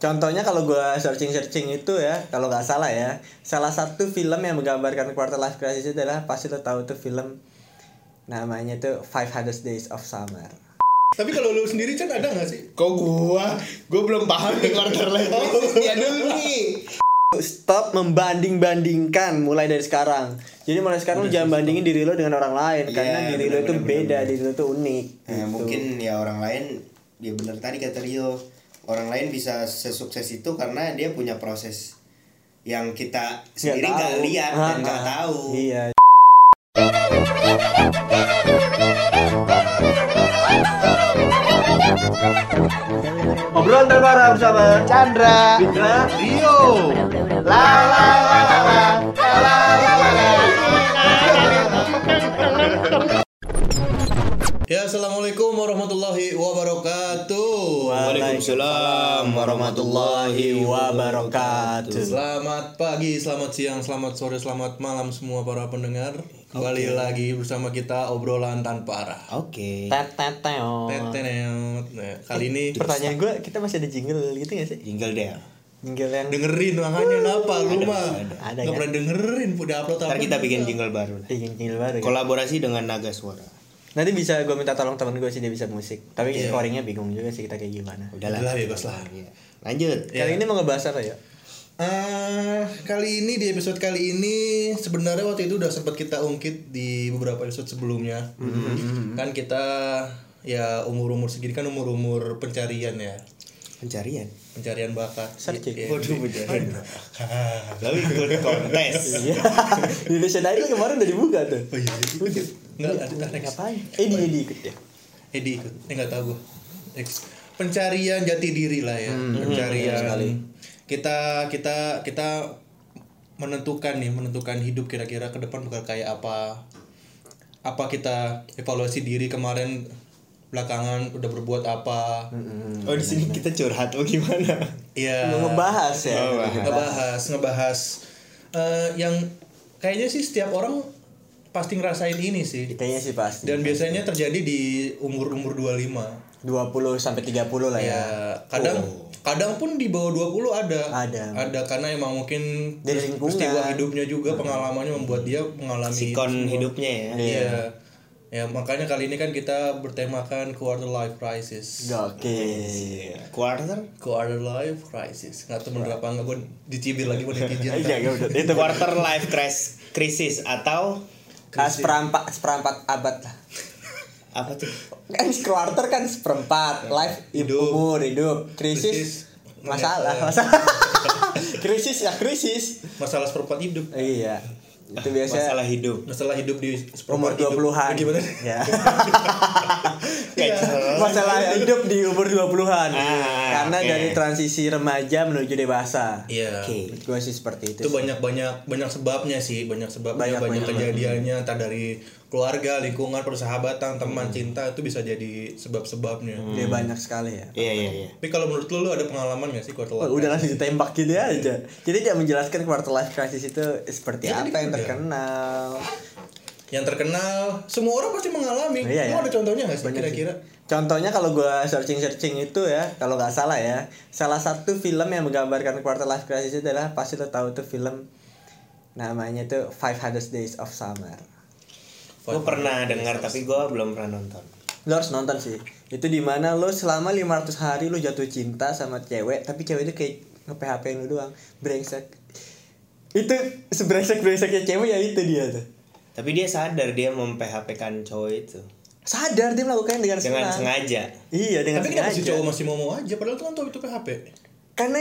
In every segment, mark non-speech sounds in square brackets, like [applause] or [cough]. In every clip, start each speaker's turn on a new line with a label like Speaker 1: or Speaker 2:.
Speaker 1: Contohnya kalau gua searching-searching itu ya, kalau nggak salah ya, salah satu film yang menggambarkan quarter life crisis itu adalah pasti lo tahu tuh film namanya tuh Five Hundred Days of Summer.
Speaker 2: Tapi kalau lu sendiri Chan ada gak sih? Oh,
Speaker 3: Kok gua, gua belum paham nih quarter life crisis
Speaker 2: iya
Speaker 3: ya dulu nih.
Speaker 1: Stop membanding-bandingkan mulai dari sekarang. Jadi mulai sekarang lu jangan bandingin diri lo dengan orang lain
Speaker 4: Iya,
Speaker 1: karena diri lo
Speaker 4: bener,
Speaker 1: itu
Speaker 4: bener,
Speaker 1: beda,
Speaker 4: bener.
Speaker 1: diri lo itu unik.
Speaker 4: Eh,
Speaker 1: gitu.
Speaker 4: mungkin ya orang lain ya bener tadi kata Rio orang lain bisa sesukses itu karena dia punya proses yang kita sendiri nggak
Speaker 1: tahu.
Speaker 4: lihat dan
Speaker 1: Ah,
Speaker 4: nggak
Speaker 1: ah.
Speaker 4: tahu
Speaker 1: Iya. Obrolan terbaru bersama Chandra, Fitra, Rio. La la la la la.
Speaker 2: Ya assalamualaikum warahmatullahi wabarakatuh.
Speaker 1: Waalaikumsalam warahmatullahi wabarakatuh.
Speaker 2: Selamat pagi, selamat siang, selamat sore, selamat malam semua para pendengar. Kembali lagi bersama kita obrolan tanpa arah.
Speaker 4: oke
Speaker 1: Tet tet teo.
Speaker 2: Teteneot. Nah, kali ini
Speaker 1: Oh. Pertanyaan gue, kita masih ada jingle gitu gak sih?
Speaker 4: jingle deh
Speaker 1: Jingle yang
Speaker 2: dengerin makanya kenapa lu mah
Speaker 1: Ada,
Speaker 2: nggak
Speaker 1: kan?
Speaker 2: pernah dengerin udah upload
Speaker 4: ntar
Speaker 2: apa
Speaker 4: kita bikin jingle baru lah.
Speaker 1: Bikin jingle baru. ya?
Speaker 4: kolaborasi dengan Naga Suara
Speaker 1: Nanti bisa gue minta tolong temen gue sih dia bisa musik. Tapi scoringnya bingung juga sih kita kayak gimana.
Speaker 4: udahlah
Speaker 2: Udahlah, bebas lah.
Speaker 4: Iya. lanjut
Speaker 1: Kali ini mau ngebahas apa ya?
Speaker 2: Eh, kali ini di episode kali ini sebenarnya waktu itu udah sempat kita ungkit di beberapa episode sebelumnya. Kan kita ya umur-umur segini kan umur-umur pencarian ya.
Speaker 4: pencarian
Speaker 2: Pencarian bakat.
Speaker 1: Searching.
Speaker 2: Iya. [laughs]
Speaker 4: waduh pencarian lalu ikut kontes
Speaker 1: Iya. [laughs] Di Indonesia Idol kemarin udah dibuka tuh.
Speaker 2: Oh iya. iya. Enggak ada
Speaker 1: Udah
Speaker 2: Next.
Speaker 1: ngapain? Edi Edi ikut ya.
Speaker 2: Edi ikut. Eh enggak tahu gua. Next. Pencarian jati diri lah ya. pencarian Kita kita kita menentukan nih, menentukan hidup kira-kira ke depan bakal kayak apa. Apa kita evaluasi diri kemarin belakangan udah berbuat apa.
Speaker 4: oh di sini kita curhat oh gimana
Speaker 2: Iya.
Speaker 1: Mau ngebahas ya.
Speaker 2: ngebahas ngebahas eh, yang kayaknya sih setiap orang pasti ngerasain ini sih.
Speaker 1: Kayaknya sih pasti.
Speaker 2: Dan biasanya terjadi di umur-umur 25.
Speaker 1: 20 sampai 30 lah ya.
Speaker 2: ya kadang kadang pun di bawah 20 ada
Speaker 1: Ada.
Speaker 2: karena emang mungkin
Speaker 1: Dari
Speaker 2: pers-
Speaker 1: lingkungan.
Speaker 2: peristiwa hidupnya juga pengalamannya membuat dia mengalami
Speaker 4: sikon hidupnya ya
Speaker 2: iya ya makanya kali ini kan kita bertemakan quarter life crisis
Speaker 1: Iya. Oke.
Speaker 4: Iya. quarter
Speaker 2: quarter life crisis nggak tahu bener apa nggak gue dicibir lagi gue netizen
Speaker 1: [laughs] Iya, ya udah.
Speaker 4: itu quarter life crash krisis atau
Speaker 1: Ah, seperempat seperempat abad lah.
Speaker 4: apa tuh
Speaker 1: Kan quarter kan seperempat, life hidup, umur hidup, krisis, Iya.
Speaker 2: Krisis,
Speaker 1: masalah,
Speaker 2: menyesal.
Speaker 1: masalah. [laughs] krisis ya krisis.
Speaker 2: masalah seperempat hidup
Speaker 1: Iya. Itu biasa
Speaker 4: Ah, masalah hidup
Speaker 2: masalah hidup di
Speaker 1: umur
Speaker 2: seperempat hidup.
Speaker 1: 20-an.
Speaker 2: gimana Iya.
Speaker 1: Ya.
Speaker 4: Kayak jelas.
Speaker 1: gitu. masalah hidup di umur 20-an.
Speaker 4: Ah,
Speaker 1: Karena
Speaker 4: oke.
Speaker 1: dari transisi remaja menuju dewasa.
Speaker 2: iya
Speaker 4: Oke.
Speaker 1: Menurut Gue sih seperti itu.
Speaker 2: itu
Speaker 1: sih.
Speaker 2: banyak banyak banyak sebabnya sih banyak sebabnya
Speaker 1: Banyak,
Speaker 2: banyak,
Speaker 1: banyak.
Speaker 2: kejadiannya entah dari keluarga lingkungan persahabatan
Speaker 1: Hmm.
Speaker 2: teman cinta itu bisa jadi sebab-sebabnya
Speaker 1: Dia banyak sekali ya.
Speaker 4: iya iya iya
Speaker 2: tapi kalau menurut lu, lu ada pengalaman gak sih quarter
Speaker 1: Oh,
Speaker 2: life
Speaker 1: udah langsung ditembak gitu aja. Jadi dia menjelaskan quarter life crisis itu seperti
Speaker 2: Ya,
Speaker 1: apa
Speaker 2: tadi
Speaker 1: yang
Speaker 2: udah.
Speaker 1: terkenal.
Speaker 2: yang terkenal semua orang pasti mengalami
Speaker 1: Iya, ya.
Speaker 2: lu ada contohnya gak sih
Speaker 1: Banyak sih.
Speaker 2: kira-kira
Speaker 1: Contohnya kalau gua searching-searching itu ya, kalau nggak salah ya, salah satu film yang menggambarkan quarter life crisis itu adalah pasti lo tahu tuh film namanya tuh Five Hundred Days of Summer.
Speaker 4: gue pernah dengar tapi gue belum pernah nonton
Speaker 1: Lo harus nonton sih. Itu dimana lo selama 500 hari lo jatuh cinta sama cewek, tapi cewek itu kayak nge-PHP lo doang, brengsek. Itu sebrengsek-brengseknya cewek ya itu dia tuh.
Speaker 4: tapi dia sadar dia memphp kan cowok itu
Speaker 1: sadar dia melakukan dengan, sengaja.
Speaker 4: dengan sengaja
Speaker 1: Iya dengan
Speaker 2: tapi kenapa
Speaker 1: sengaja.
Speaker 2: si cowok masih mau mau aja padahal tuh kan tuh itu PHP
Speaker 1: Karena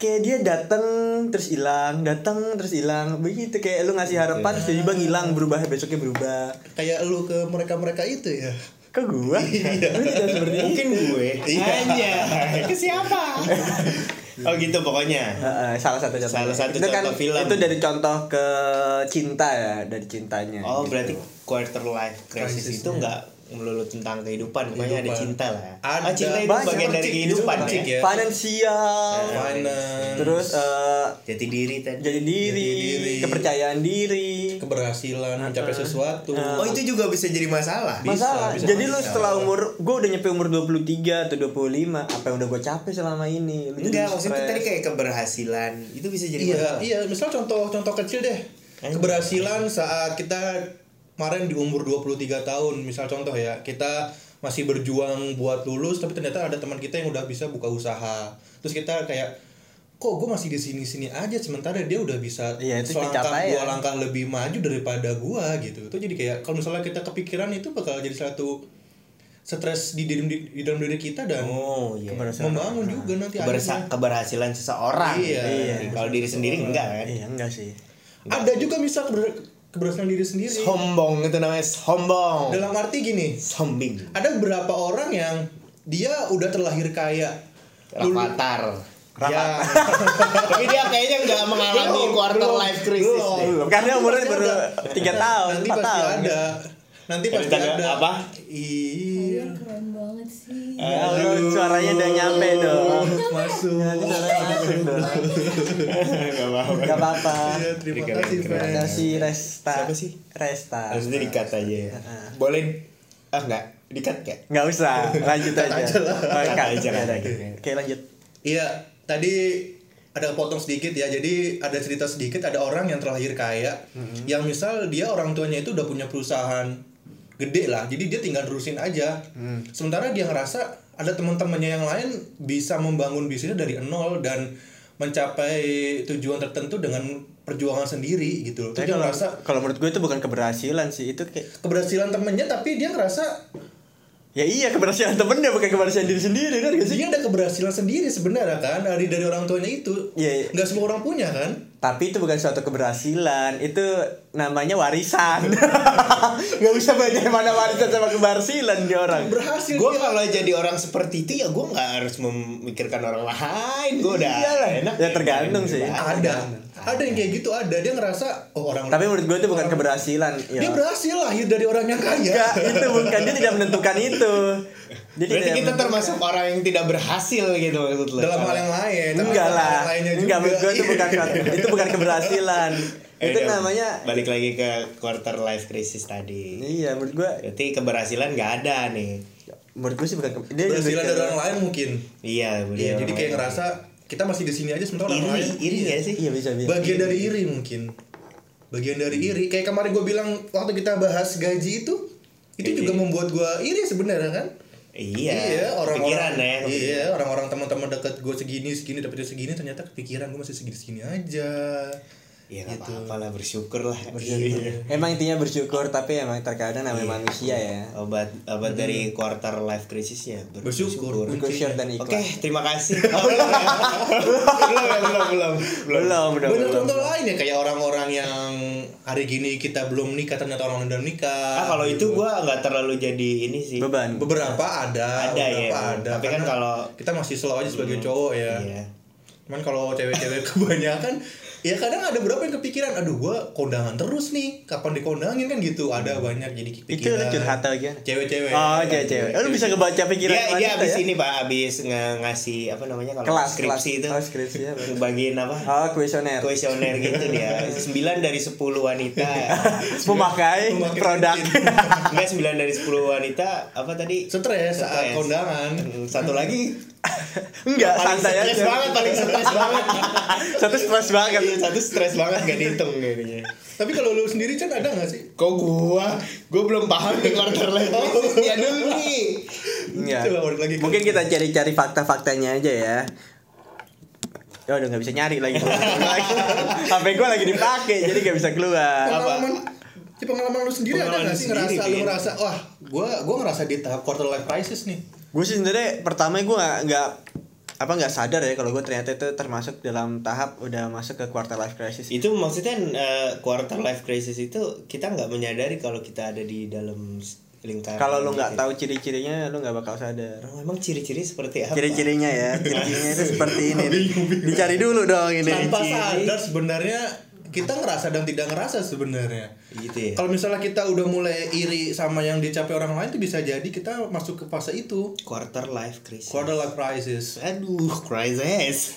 Speaker 1: kayak dia datang terus hilang, datang terus hilang, begitu kayak lu ngasih harapan terus tiba-tiba hilang, berubah besoknya berubah.
Speaker 2: kayak lu ke mereka-mereka itu ya
Speaker 1: Ke gua?
Speaker 4: Iya.
Speaker 1: Lu tidak Iya, seperti itu.
Speaker 4: mungkin gue [laughs] aja ke siapa Iya. oh gitu pokoknya
Speaker 1: Heeh, salah satu contoh.
Speaker 4: Salah satu
Speaker 1: itu kan,
Speaker 4: contoh film.
Speaker 1: Itu dari contoh ke cinta ya, dari cintanya.
Speaker 4: oh
Speaker 1: gitu.
Speaker 4: berarti quarter life crisis itu nggak melulu tentang kehidupan pokoknya ada
Speaker 2: Kehidupan.
Speaker 4: cinta lah
Speaker 2: Ada.
Speaker 4: ah, cinta itu
Speaker 1: Banyak,
Speaker 4: bagian dari
Speaker 2: percik,
Speaker 4: kehidupan
Speaker 2: percik
Speaker 4: ya Eh,
Speaker 2: ya.
Speaker 1: finansial
Speaker 2: finance
Speaker 1: terus eh,
Speaker 5: jati diri tadi
Speaker 1: jadi diri,
Speaker 2: Jadi diri.
Speaker 1: kepercayaan diri
Speaker 2: keberhasilan mencapai
Speaker 1: Nah.
Speaker 2: sesuatu iya,
Speaker 5: oh itu juga bisa jadi masalah
Speaker 2: Bisa,
Speaker 1: masalah
Speaker 2: bisa,
Speaker 1: jadi
Speaker 2: bisa.
Speaker 1: lu setelah umur gue udah nyampe umur 23 atau 25 apa yang udah gue capek selama ini lu jadi
Speaker 5: enggak maksudnya
Speaker 1: stres.
Speaker 5: tadi kayak keberhasilan itu bisa jadi
Speaker 2: iya
Speaker 5: masalah
Speaker 2: iya misal contoh contoh kecil deh
Speaker 1: gitu.
Speaker 2: keberhasilan saat kita kemarin di umur 23 tahun misal contoh ya kita masih berjuang buat lulus tapi ternyata ada teman kita yang udah bisa buka usaha terus kita kayak kok gue masih di sini sini aja sementara dia udah bisa
Speaker 1: Iya, itu
Speaker 2: selangkah
Speaker 1: pencapaian.
Speaker 2: dua langkah lebih maju daripada gua gitu itu jadi kayak kalau misalnya kita kepikiran itu bakal jadi satu stres di, di, di dalam diri kita dan
Speaker 4: oh iya
Speaker 2: membangun juga nanti akhirnya.
Speaker 4: Kebersa- keberhasilan seseorang
Speaker 2: Iya.
Speaker 4: gitu.
Speaker 2: Iya.
Speaker 4: kalau diri sendiri enggak kan
Speaker 1: iya enggak sih
Speaker 2: ada juga misal keber- keberhasilan diri sendiri
Speaker 4: sombong itu namanya sombong
Speaker 2: dalam arti gini
Speaker 4: sombing
Speaker 2: ada berapa orang yang dia udah terlahir kaya Lulu-
Speaker 4: rapatar
Speaker 2: Ya,
Speaker 4: tapi dia kayaknya nggak mengalami
Speaker 2: Belum,
Speaker 4: quarter
Speaker 2: belum,
Speaker 4: life crisis
Speaker 2: belum.
Speaker 4: deh.
Speaker 1: Iya. karena umurnya
Speaker 2: pasti
Speaker 1: baru
Speaker 2: ada.
Speaker 1: 3 tahun
Speaker 2: nanti
Speaker 1: 4
Speaker 2: pasti
Speaker 1: tahun
Speaker 2: ada nanti
Speaker 4: Jadi
Speaker 2: pasti
Speaker 4: tanda-
Speaker 2: ada
Speaker 4: apa?
Speaker 2: iya
Speaker 6: Kalian keren banget sih.
Speaker 1: Ya Allah, suaranya udah nyampe
Speaker 2: Iya,
Speaker 1: Iya, dong
Speaker 2: masuk
Speaker 4: [laughs] Nggak apa-apa.
Speaker 1: Gak apa-apa
Speaker 2: Iya, terima
Speaker 4: Keren,
Speaker 2: kasih
Speaker 4: keren.
Speaker 1: Terima
Speaker 2: Fred.
Speaker 1: kasih Resta
Speaker 4: Siapa sih?
Speaker 1: Resta
Speaker 4: Harusnya dikat aja ya.
Speaker 1: Heeh.
Speaker 4: Boleh ah nggak dikat nggak?
Speaker 1: Nggak usah, lanjut aja
Speaker 2: aja lah.
Speaker 1: Oh,
Speaker 4: Cut
Speaker 1: cut.
Speaker 4: aja, cut aja.
Speaker 1: Oke lanjut
Speaker 2: iya tadi ada potong sedikit ya jadi ada cerita sedikit ada orang yang terlahir kaya
Speaker 1: Mm-hmm.
Speaker 2: yang misal dia orang tuanya itu udah punya perusahaan gede lah jadi dia tinggal terusin aja
Speaker 1: Hmm.
Speaker 2: sementara dia ngerasa ada teman-temannya yang lain bisa membangun bisnis dari nol dan mencapai tujuan tertentu dengan perjuangan sendiri gitu
Speaker 1: Tapi
Speaker 2: Tapi dia
Speaker 1: kalau,
Speaker 2: ngerasa
Speaker 1: kalau menurut gue itu bukan keberhasilan sih Itu kayak
Speaker 2: keberhasilan temennya tapi dia ngerasa
Speaker 1: Ya iya keberhasilan temennya bukan keberhasilan diri sendiri kan gak sih?
Speaker 2: dia ada keberhasilan sendiri sebenarnya kan dari dari orang tuanya itu
Speaker 1: Iya, iya.
Speaker 2: nggak semua orang punya kan
Speaker 1: Tapi itu bukan suatu keberhasilan Itu namanya warisan Gak bisa banyak mana warisan sama keberhasilan dia orang
Speaker 2: berhasil
Speaker 4: Gue
Speaker 2: dia.
Speaker 4: kalau jadi orang seperti itu ya gue nggak harus memikirkan orang lain. Gue udah
Speaker 1: Iyalah,
Speaker 4: enak. Iya.
Speaker 1: ya tergantung sih.
Speaker 2: ada ada yang kayak gitu ada dia ngerasa oh orang
Speaker 1: Tapi menurut gue itu bukan keberhasilan ya.
Speaker 2: dia berhasil lahir dari orang yang kaya
Speaker 1: Enggak, gitu itu bukan dia tidak menentukan itu. Dia
Speaker 4: Berarti
Speaker 1: tidak
Speaker 4: kita
Speaker 1: menentukan.
Speaker 4: termasuk orang yang tidak berhasil gitu maksud lo.
Speaker 2: dalam hal yang lain tapi
Speaker 1: enggak
Speaker 2: dalam hal
Speaker 1: lah.
Speaker 2: yang lainnya juga Iya.
Speaker 1: Enggak menurut gue itu bukan
Speaker 2: [laughs]
Speaker 1: gitu itu bukan keberhasilan.
Speaker 4: Eh,
Speaker 1: itu
Speaker 4: dia
Speaker 1: namanya
Speaker 4: balik lagi ke quarter life crisis tadi.
Speaker 1: Iya, menurut gue
Speaker 4: Berarti keberhasilan nggak ada nih.
Speaker 1: menurut gue sih bukan ke- dia lebih
Speaker 2: keberhasilan
Speaker 1: ke-
Speaker 2: dari orang lain mungkin
Speaker 4: Iya, boleh
Speaker 2: Iya,
Speaker 4: orang
Speaker 2: jadi kayak
Speaker 4: lain.
Speaker 2: ngerasa kita masih di sini aja sementara orang
Speaker 4: iri,
Speaker 2: lain
Speaker 4: iri ya sih.
Speaker 1: Iya bisa bisa.
Speaker 2: bagian dari iri mungkin bagian dari iri kayak kemarin gue bilang waktu kita bahas gaji itu itu
Speaker 1: Iya,
Speaker 2: juga membuat gue iri sebenarnya kan
Speaker 4: Iya,
Speaker 2: orang
Speaker 4: pikiran ya.
Speaker 2: iya orang-orang teman-teman dekat gue segini segini dapetnya segini ternyata kepikiran gue masih segini segini aja
Speaker 4: Ya nggak apa-apa lah bersyukur lah.
Speaker 2: Gitu.
Speaker 4: Iya.
Speaker 1: Emang intinya bersyukur tapi emang terkadang namanya manusia ya.
Speaker 4: Obat obat dari quarter life krisisnya ber-
Speaker 2: Bersyukur.
Speaker 1: Bersyukur dan
Speaker 4: Oke,
Speaker 1: ikhlas.
Speaker 4: terima kasih. Oh, belum, ya? belum, [laughs] ya? belum, belum, belum.
Speaker 1: Belum, belum,
Speaker 2: Banyak
Speaker 1: belum.
Speaker 2: contoh lain ya kayak orang-orang yang hari gini kita belum nikah ternyata orang udah nikah
Speaker 4: Ah, kalau itu gua nggak terlalu jadi ini sih.
Speaker 1: Beban.
Speaker 2: beberapa ada
Speaker 4: Ada
Speaker 2: beberapa
Speaker 4: ya,
Speaker 2: ada
Speaker 4: tapi kan
Speaker 2: Karena
Speaker 4: kalau-
Speaker 2: kita masih slow aja sebagai cowok ya
Speaker 4: Iya.
Speaker 2: cuman kalau cewek-cewek [laughs] kebanyakan ya kadang ada berapa yang kepikiran aduh gua kondangan terus nih kapan dikondangin kan gitu
Speaker 4: Hmm.
Speaker 2: ada banyak jadi kepikiran
Speaker 1: Itu lu curhat atau gimana?
Speaker 2: cewek-cewek Iya.
Speaker 1: Oh, cewek-cewek. Eh, Lu bisa kebaca pikiran
Speaker 4: iya, Dia dia
Speaker 1: wanita
Speaker 4: abis
Speaker 1: ya?
Speaker 4: ini pak, abis nge- ngasih apa namanya kalau
Speaker 1: kelas
Speaker 4: skripsi
Speaker 1: kelas.
Speaker 4: itu,
Speaker 1: Oh, skripsi ya. betul.
Speaker 4: bagiin apa?
Speaker 1: Oh, kuesioner.
Speaker 4: Kuesioner gitu
Speaker 1: [laughs]
Speaker 4: dia. 9 dari 10 wanita.
Speaker 1: Memakai
Speaker 2: Memakai
Speaker 1: produk. [laughs]
Speaker 2: cincin.
Speaker 4: Enggak 9 dari 10 wanita apa tadi?
Speaker 2: stres saat
Speaker 4: Stres.
Speaker 2: kondangan
Speaker 4: Satu lagi
Speaker 1: Enggak,
Speaker 4: paling
Speaker 1: santai
Speaker 4: stres
Speaker 1: aja.
Speaker 4: banget, paling stres banget.
Speaker 1: Satu stres banget.
Speaker 4: Iya, Satu stres banget gak dihitung kayaknya.
Speaker 2: tapi kalau lu sendiri kan ada nggak sih
Speaker 4: Kok gua? Gua belum paham nih quarter life crisis dia dulu nih.
Speaker 1: Iya.
Speaker 4: gitu.
Speaker 2: Coba balik lagi ke-
Speaker 1: Mungkin kita cari-cari fakta-faktanya aja ya. Ya udah nggak bisa nyari
Speaker 4: [laughs]
Speaker 1: lagi. HP gue lagi dipakai jadi nggak bisa keluar.
Speaker 2: pengalaman di pengalaman lu sendiri ada
Speaker 4: Pengalaman
Speaker 2: nggak sih
Speaker 4: sendiri,
Speaker 2: ngerasa lu
Speaker 4: Vin.
Speaker 2: ngerasa wah gua gua ngerasa di tahap quarter life crisis nih
Speaker 1: Gue sih sebenarnya pertama gue nggak nggak apa nggak sadar ya kalau gue ternyata itu termasuk dalam tahap udah masuk ke quarter life crisis.
Speaker 4: Itu maksudnya eh, quarter life crisis itu kita nggak menyadari kalau kita ada di dalam s- lingkaran.
Speaker 1: Kalau lu nggak
Speaker 4: gitu.
Speaker 1: tahu ciri-cirinya lu nggak bakal sadar.
Speaker 4: Oh, emang ciri-ciri seperti apa?
Speaker 1: Ciri-cirinya
Speaker 4: [laughs]
Speaker 1: ya, ciri-cirinya itu seperti ini. nih. Dicari dulu dong ini.
Speaker 2: tanpa sadar sebenarnya kita ngerasa dan tidak ngerasa sebenarnya.
Speaker 4: Gitu ya.
Speaker 2: Kalau misalnya kita udah mulai iri sama yang dicapai orang lain tuh bisa jadi kita masuk ke fase itu.
Speaker 4: Quarter life crisis.
Speaker 2: Quarter life crisis.
Speaker 4: Aduh, crisis.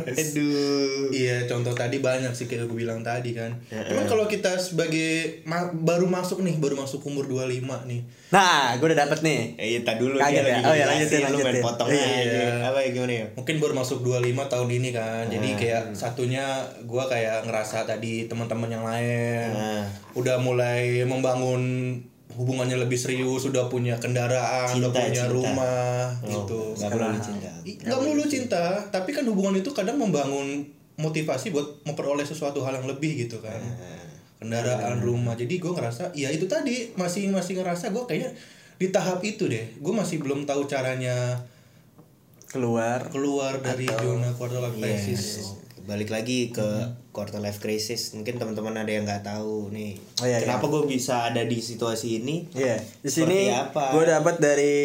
Speaker 4: Aduh.
Speaker 2: Iya, contoh tadi banyak sih kayak gue bilang tadi kan. Cuman kalau kita sebagai ma- baru masuk nih, baru masuk umur 25 nih.
Speaker 1: Nah, gue udah dapet nih.
Speaker 4: Eh, tak dulu
Speaker 1: Kaget ya?
Speaker 4: lagi
Speaker 1: Oh, iya,
Speaker 4: jelasin,
Speaker 1: lanjutin,
Speaker 4: lu main
Speaker 1: lanjutin.
Speaker 4: potong
Speaker 1: Iya, Oh,
Speaker 4: aja. Apa ya gimana ya?
Speaker 2: Mungkin baru masuk 25 tahun ini kan. Jadi
Speaker 4: Nah.
Speaker 2: kayak satunya gua kayak ngerasa tadi teman-teman yang lain
Speaker 4: Ah.
Speaker 2: udah mulai membangun hubungannya lebih serius, udah punya kendaraan, udah
Speaker 4: Cinta, ya,
Speaker 2: punya
Speaker 4: cinta.
Speaker 2: rumah
Speaker 4: Oh,
Speaker 2: gitu.
Speaker 4: nggak perlu cinta.
Speaker 2: I- nggak melulu cinta tapi kan hubungan itu kadang membangun motivasi buat memperoleh sesuatu hal yang lebih gitu kan
Speaker 4: Nah.
Speaker 2: kendaraan rumah jadi gue ngerasa ya itu tadi masih masih ngerasa gue kayaknya di tahap itu deh gue masih belum tahu caranya
Speaker 1: Keluar.
Speaker 2: keluar dari
Speaker 1: Iya,
Speaker 2: zona quarter life crisis
Speaker 4: Iya. balik lagi ke
Speaker 1: Mm-hmm.
Speaker 4: quarter life crisis mungkin teman-teman ada yang nggak tahu nih
Speaker 1: Oh, iya,
Speaker 4: kenapa gue bisa ada di situasi ini
Speaker 1: Iya, di sini
Speaker 4: Seperti apa?
Speaker 1: gue dapat dari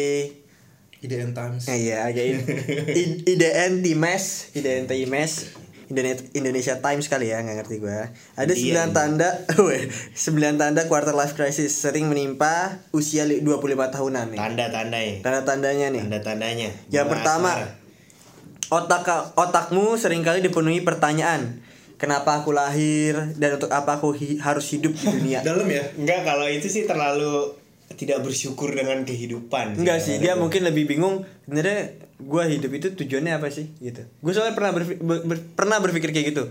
Speaker 2: IDM times
Speaker 1: Nah, Iya, agak
Speaker 4: [laughs]
Speaker 1: in- I- IDN Times, IDN Times, Indone- Indonesia Times kali ya, nggak ngerti gua. Ada
Speaker 4: Iya,
Speaker 1: sembilan
Speaker 4: iya.
Speaker 1: tanda, [laughs] weh, sembilan tanda quarter life crisis sering menimpa usia li- 25 tahunan nih.
Speaker 4: tanda-tanda ya
Speaker 1: Tanda-tandanya nih.
Speaker 4: tanda-tandanya
Speaker 1: Yang
Speaker 4: Gua
Speaker 1: pertama,
Speaker 4: asmara.
Speaker 1: otak otakmu seringkali dipenuhi pertanyaan. Kenapa aku lahir dan untuk apa aku hi- harus hidup di
Speaker 2: [laughs]
Speaker 1: dunia?
Speaker 2: dalam ya
Speaker 4: enggak kalau itu sih terlalu tidak bersyukur dengan kehidupan
Speaker 1: Enggak sih, dia mungkin lebih bingung sebenarnya gue hidup itu tujuannya apa sih gitu. Gue soalnya pernah berfi- ber- ber- pernah berpikir kayak gitu.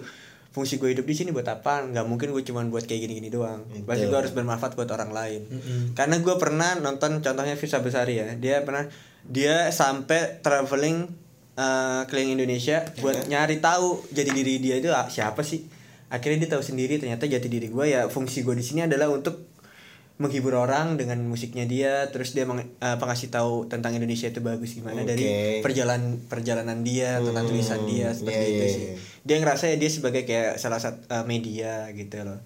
Speaker 1: Fungsi gue hidup di sini buat apa? Nggak mungkin gue cuman buat kayak gini-gini doang. Pasti gue harus bermanfaat buat orang lain. Karena gue pernah nonton contohnya Fisa Besari ya. Dia pernah dia sampai traveling eh, keliling Indonesia
Speaker 4: Iya.
Speaker 1: buat nyari tahu jadi diri dia itu ah, siapa sih. Akhirnya dia tahu sendiri ternyata jati diri gue ya fungsi gue di sini adalah untuk menghibur orang dengan musiknya dia terus dia meng, apa, ngasih tahu tentang Indonesia itu bagus gimana
Speaker 4: Oke.
Speaker 1: dari perjalanan perjalanan dia tentang tulisan dia seperti
Speaker 4: iya,
Speaker 1: itu
Speaker 4: iya,
Speaker 1: sih
Speaker 4: iya.
Speaker 1: dia ngerasa ya dia sebagai kayak salah satu eh, media gitu loh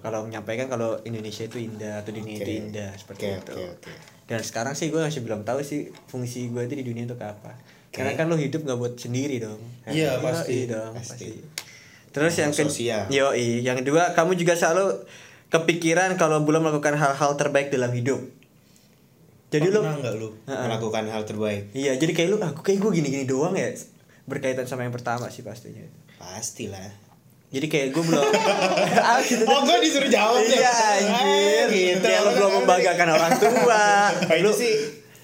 Speaker 1: kalau menyampaikan kalau Indonesia itu indah atau dunia itu indah seperti
Speaker 4: Oke,
Speaker 1: itu
Speaker 4: oke, oke.
Speaker 1: dan sekarang sih gue masih belum tahu sih fungsi gue itu di dunia itu apa karena kan lo hidup nggak buat sendiri dong
Speaker 2: Iya,
Speaker 1: Yoi
Speaker 2: pasti.
Speaker 1: dong pasti, terus yang ke-
Speaker 4: sosial.
Speaker 1: Yoi, yang kedua kamu juga selalu kepikiran kalau belum melakukan hal-hal terbaik dalam hidup. Jadi lu
Speaker 2: pernah nggak lu
Speaker 4: melakukan hal terbaik
Speaker 1: Iya, jadi kayak lu aku kayak gue gini-gini doang ya berkaitan sama yang pertama sih pastinya.
Speaker 4: pastilah
Speaker 1: Jadi kayak gue belum [laughs] Ah, gitu
Speaker 4: oh
Speaker 1: deh.
Speaker 4: gue disuruh jawab ya?
Speaker 1: Iya
Speaker 4: Eh,
Speaker 1: anjir.
Speaker 4: gitu
Speaker 1: Kayak lu belum membanggakan orang tua.
Speaker 4: [laughs] Nah, itu sih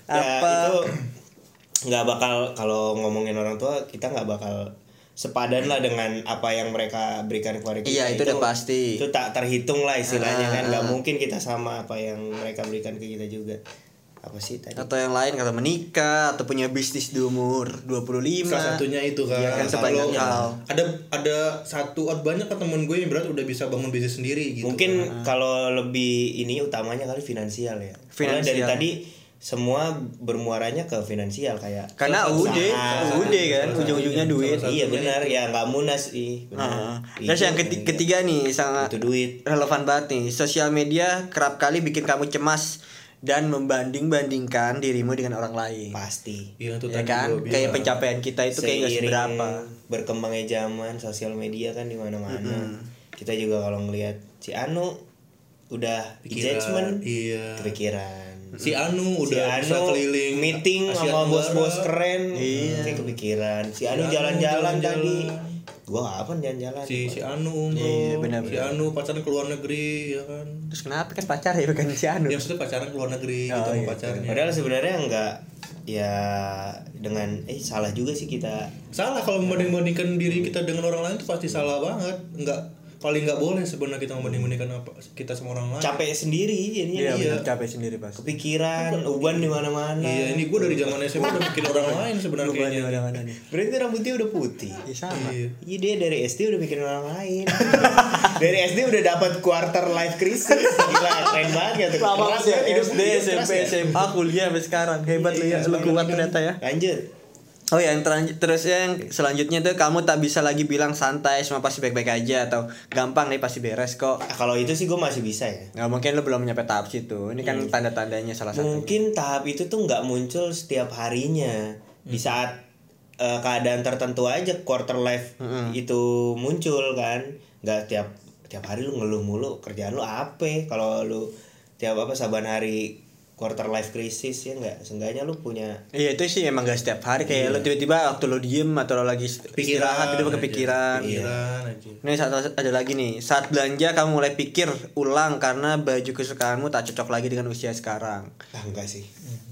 Speaker 1: apa?
Speaker 4: ya, itu nggak bakal kalau ngomongin orang tua kita nggak bakal sepadan lah dengan apa yang mereka berikan kepada kita
Speaker 1: Iya, itu udah pasti. Ah,
Speaker 4: itu tak terhitung lah istilahnya kan nggak mungkin kita sama apa yang mereka berikan ke kita juga apa sih tadi
Speaker 1: Atau yang lain kalau menikah atau punya bisnis di umur 25.
Speaker 2: salah satunya itu kan,
Speaker 1: Iya, kan sebanyak
Speaker 2: Kalau
Speaker 1: hal.
Speaker 2: ada ada satu oh, banyak kan temen gue yang berat udah bisa bangun bisnis sendiri gitu
Speaker 4: mungkin
Speaker 1: Ah.
Speaker 4: kalau lebih ini utamanya kali finansial ya Soalnya dari
Speaker 1: Finansial.
Speaker 4: tadi semua bermuaranya ke finansial kayak
Speaker 1: Karena
Speaker 4: usaha,
Speaker 1: UD, UD kan
Speaker 2: salah
Speaker 1: ujung-ujungnya
Speaker 2: satunya,
Speaker 1: duit.
Speaker 2: salah
Speaker 4: iya benar ya nggak munas sih
Speaker 1: Nah,
Speaker 4: benar
Speaker 1: terus
Speaker 4: Itu
Speaker 1: yang keti-
Speaker 4: benar, iya.
Speaker 1: ketiga nih sangat
Speaker 4: Butuh duit.
Speaker 1: relevan banget nih. Sosial media kerap kali bikin kamu cemas dan membanding-bandingkan dirimu dengan orang lain.
Speaker 4: pasti
Speaker 2: Iya itu
Speaker 1: Ya
Speaker 2: tadi
Speaker 1: kan?
Speaker 2: gua bilang.
Speaker 1: Kayak pencapaian kita itu kayak gak
Speaker 4: Seiring
Speaker 1: seberapa.
Speaker 4: berkembangnya zaman sosial media kan di mana-mana kita juga kalau ngelihat si Anu udah
Speaker 2: Pikiran,
Speaker 4: engagement
Speaker 2: iya.
Speaker 4: kepikiran
Speaker 2: si Anu
Speaker 4: Si
Speaker 2: udah bisa keliling
Speaker 4: meeting
Speaker 2: Asia Tenggara.
Speaker 4: sama
Speaker 2: Iya.
Speaker 4: bos-bos keren kayak kepikiran si Anu
Speaker 2: Anu
Speaker 4: jalan-jalan
Speaker 2: jalan-jalan.
Speaker 4: tadi gua apa jalan-jalan
Speaker 2: si si Anu umroh
Speaker 1: Iya, benar,
Speaker 2: si Anu pacaran ke luar negeri ya kan
Speaker 1: Terus kenapa kan pacar ya bukan si Anu?
Speaker 2: dia maksudnya pacaran ke luar negeri
Speaker 1: Oh,
Speaker 2: gitu
Speaker 1: iya,
Speaker 2: sama pacarnya
Speaker 4: padahal sebenarnya enggak ya dengan eh salah juga sih kita
Speaker 2: salah kalau membanding-bandingkan diri kita dengan orang lain itu pasti salah banget nggak paling nggak boleh sebenarnya kita membanding-bandingkan apa kita sama orang lain
Speaker 4: capek sendiri
Speaker 1: Iya,
Speaker 4: jadinya dia
Speaker 1: bener, capek sendiri pasti.
Speaker 4: kepikiran uban di mana-mana
Speaker 2: iya ini gue dari
Speaker 4: gitu.
Speaker 2: zaman SMA udah bikin orang lain sebenarnya kayaknya
Speaker 1: Mana-mana nih.
Speaker 4: berarti rambutnya udah putih
Speaker 1: Ya sama.
Speaker 2: Iya.
Speaker 4: Iya dia dari SD udah mikirin orang lain. [laughs] dari SD udah dapat quarter life crisis. Gila keren banget gak tuh.
Speaker 1: Lama
Speaker 4: Keras
Speaker 1: sih
Speaker 4: ya, hidup-
Speaker 1: SD,
Speaker 4: hidup keras
Speaker 1: SMP,
Speaker 4: ya.
Speaker 1: SMA, kuliah sampai sekarang. Hebat lu ya, lu kuat ternyata ya.
Speaker 4: Lanjut.
Speaker 1: Oh ya, yang terlanjut terus yang selanjutnya tuh kamu tak bisa lagi bilang santai semua pasti baik-baik aja atau gampang nih pasti beres kok.
Speaker 4: Ah, Kalau itu sih gue masih bisa ya.
Speaker 1: Nah, mungkin lu belum nyampe tahap situ. Ini kan tanda-tandanya salah satu.
Speaker 4: Hmm. Mungkin tahap itu tuh nggak muncul setiap harinya. Di saat eh, keadaan tertentu aja quarter life itu muncul kan nggak tiap tiap hari lu ngeluh mulu kerjaan lu apa kalau lu tiap apa saban hari quarter life crisis ya nggak seenggaknya lu punya
Speaker 1: Iya itu sih emang gak setiap hari kayak lo tiba-tiba waktu lo diem atau lo lagi ist- istirahat tiba-tiba kepikiran.
Speaker 2: iya.
Speaker 1: gitu.
Speaker 4: Iya.
Speaker 2: pikiran aja
Speaker 1: Ini saat ada lagi nih saat belanja kamu mulai pikir ulang karena baju kesukaanmu tak cocok lagi dengan usia sekarang.
Speaker 4: ah enggak sih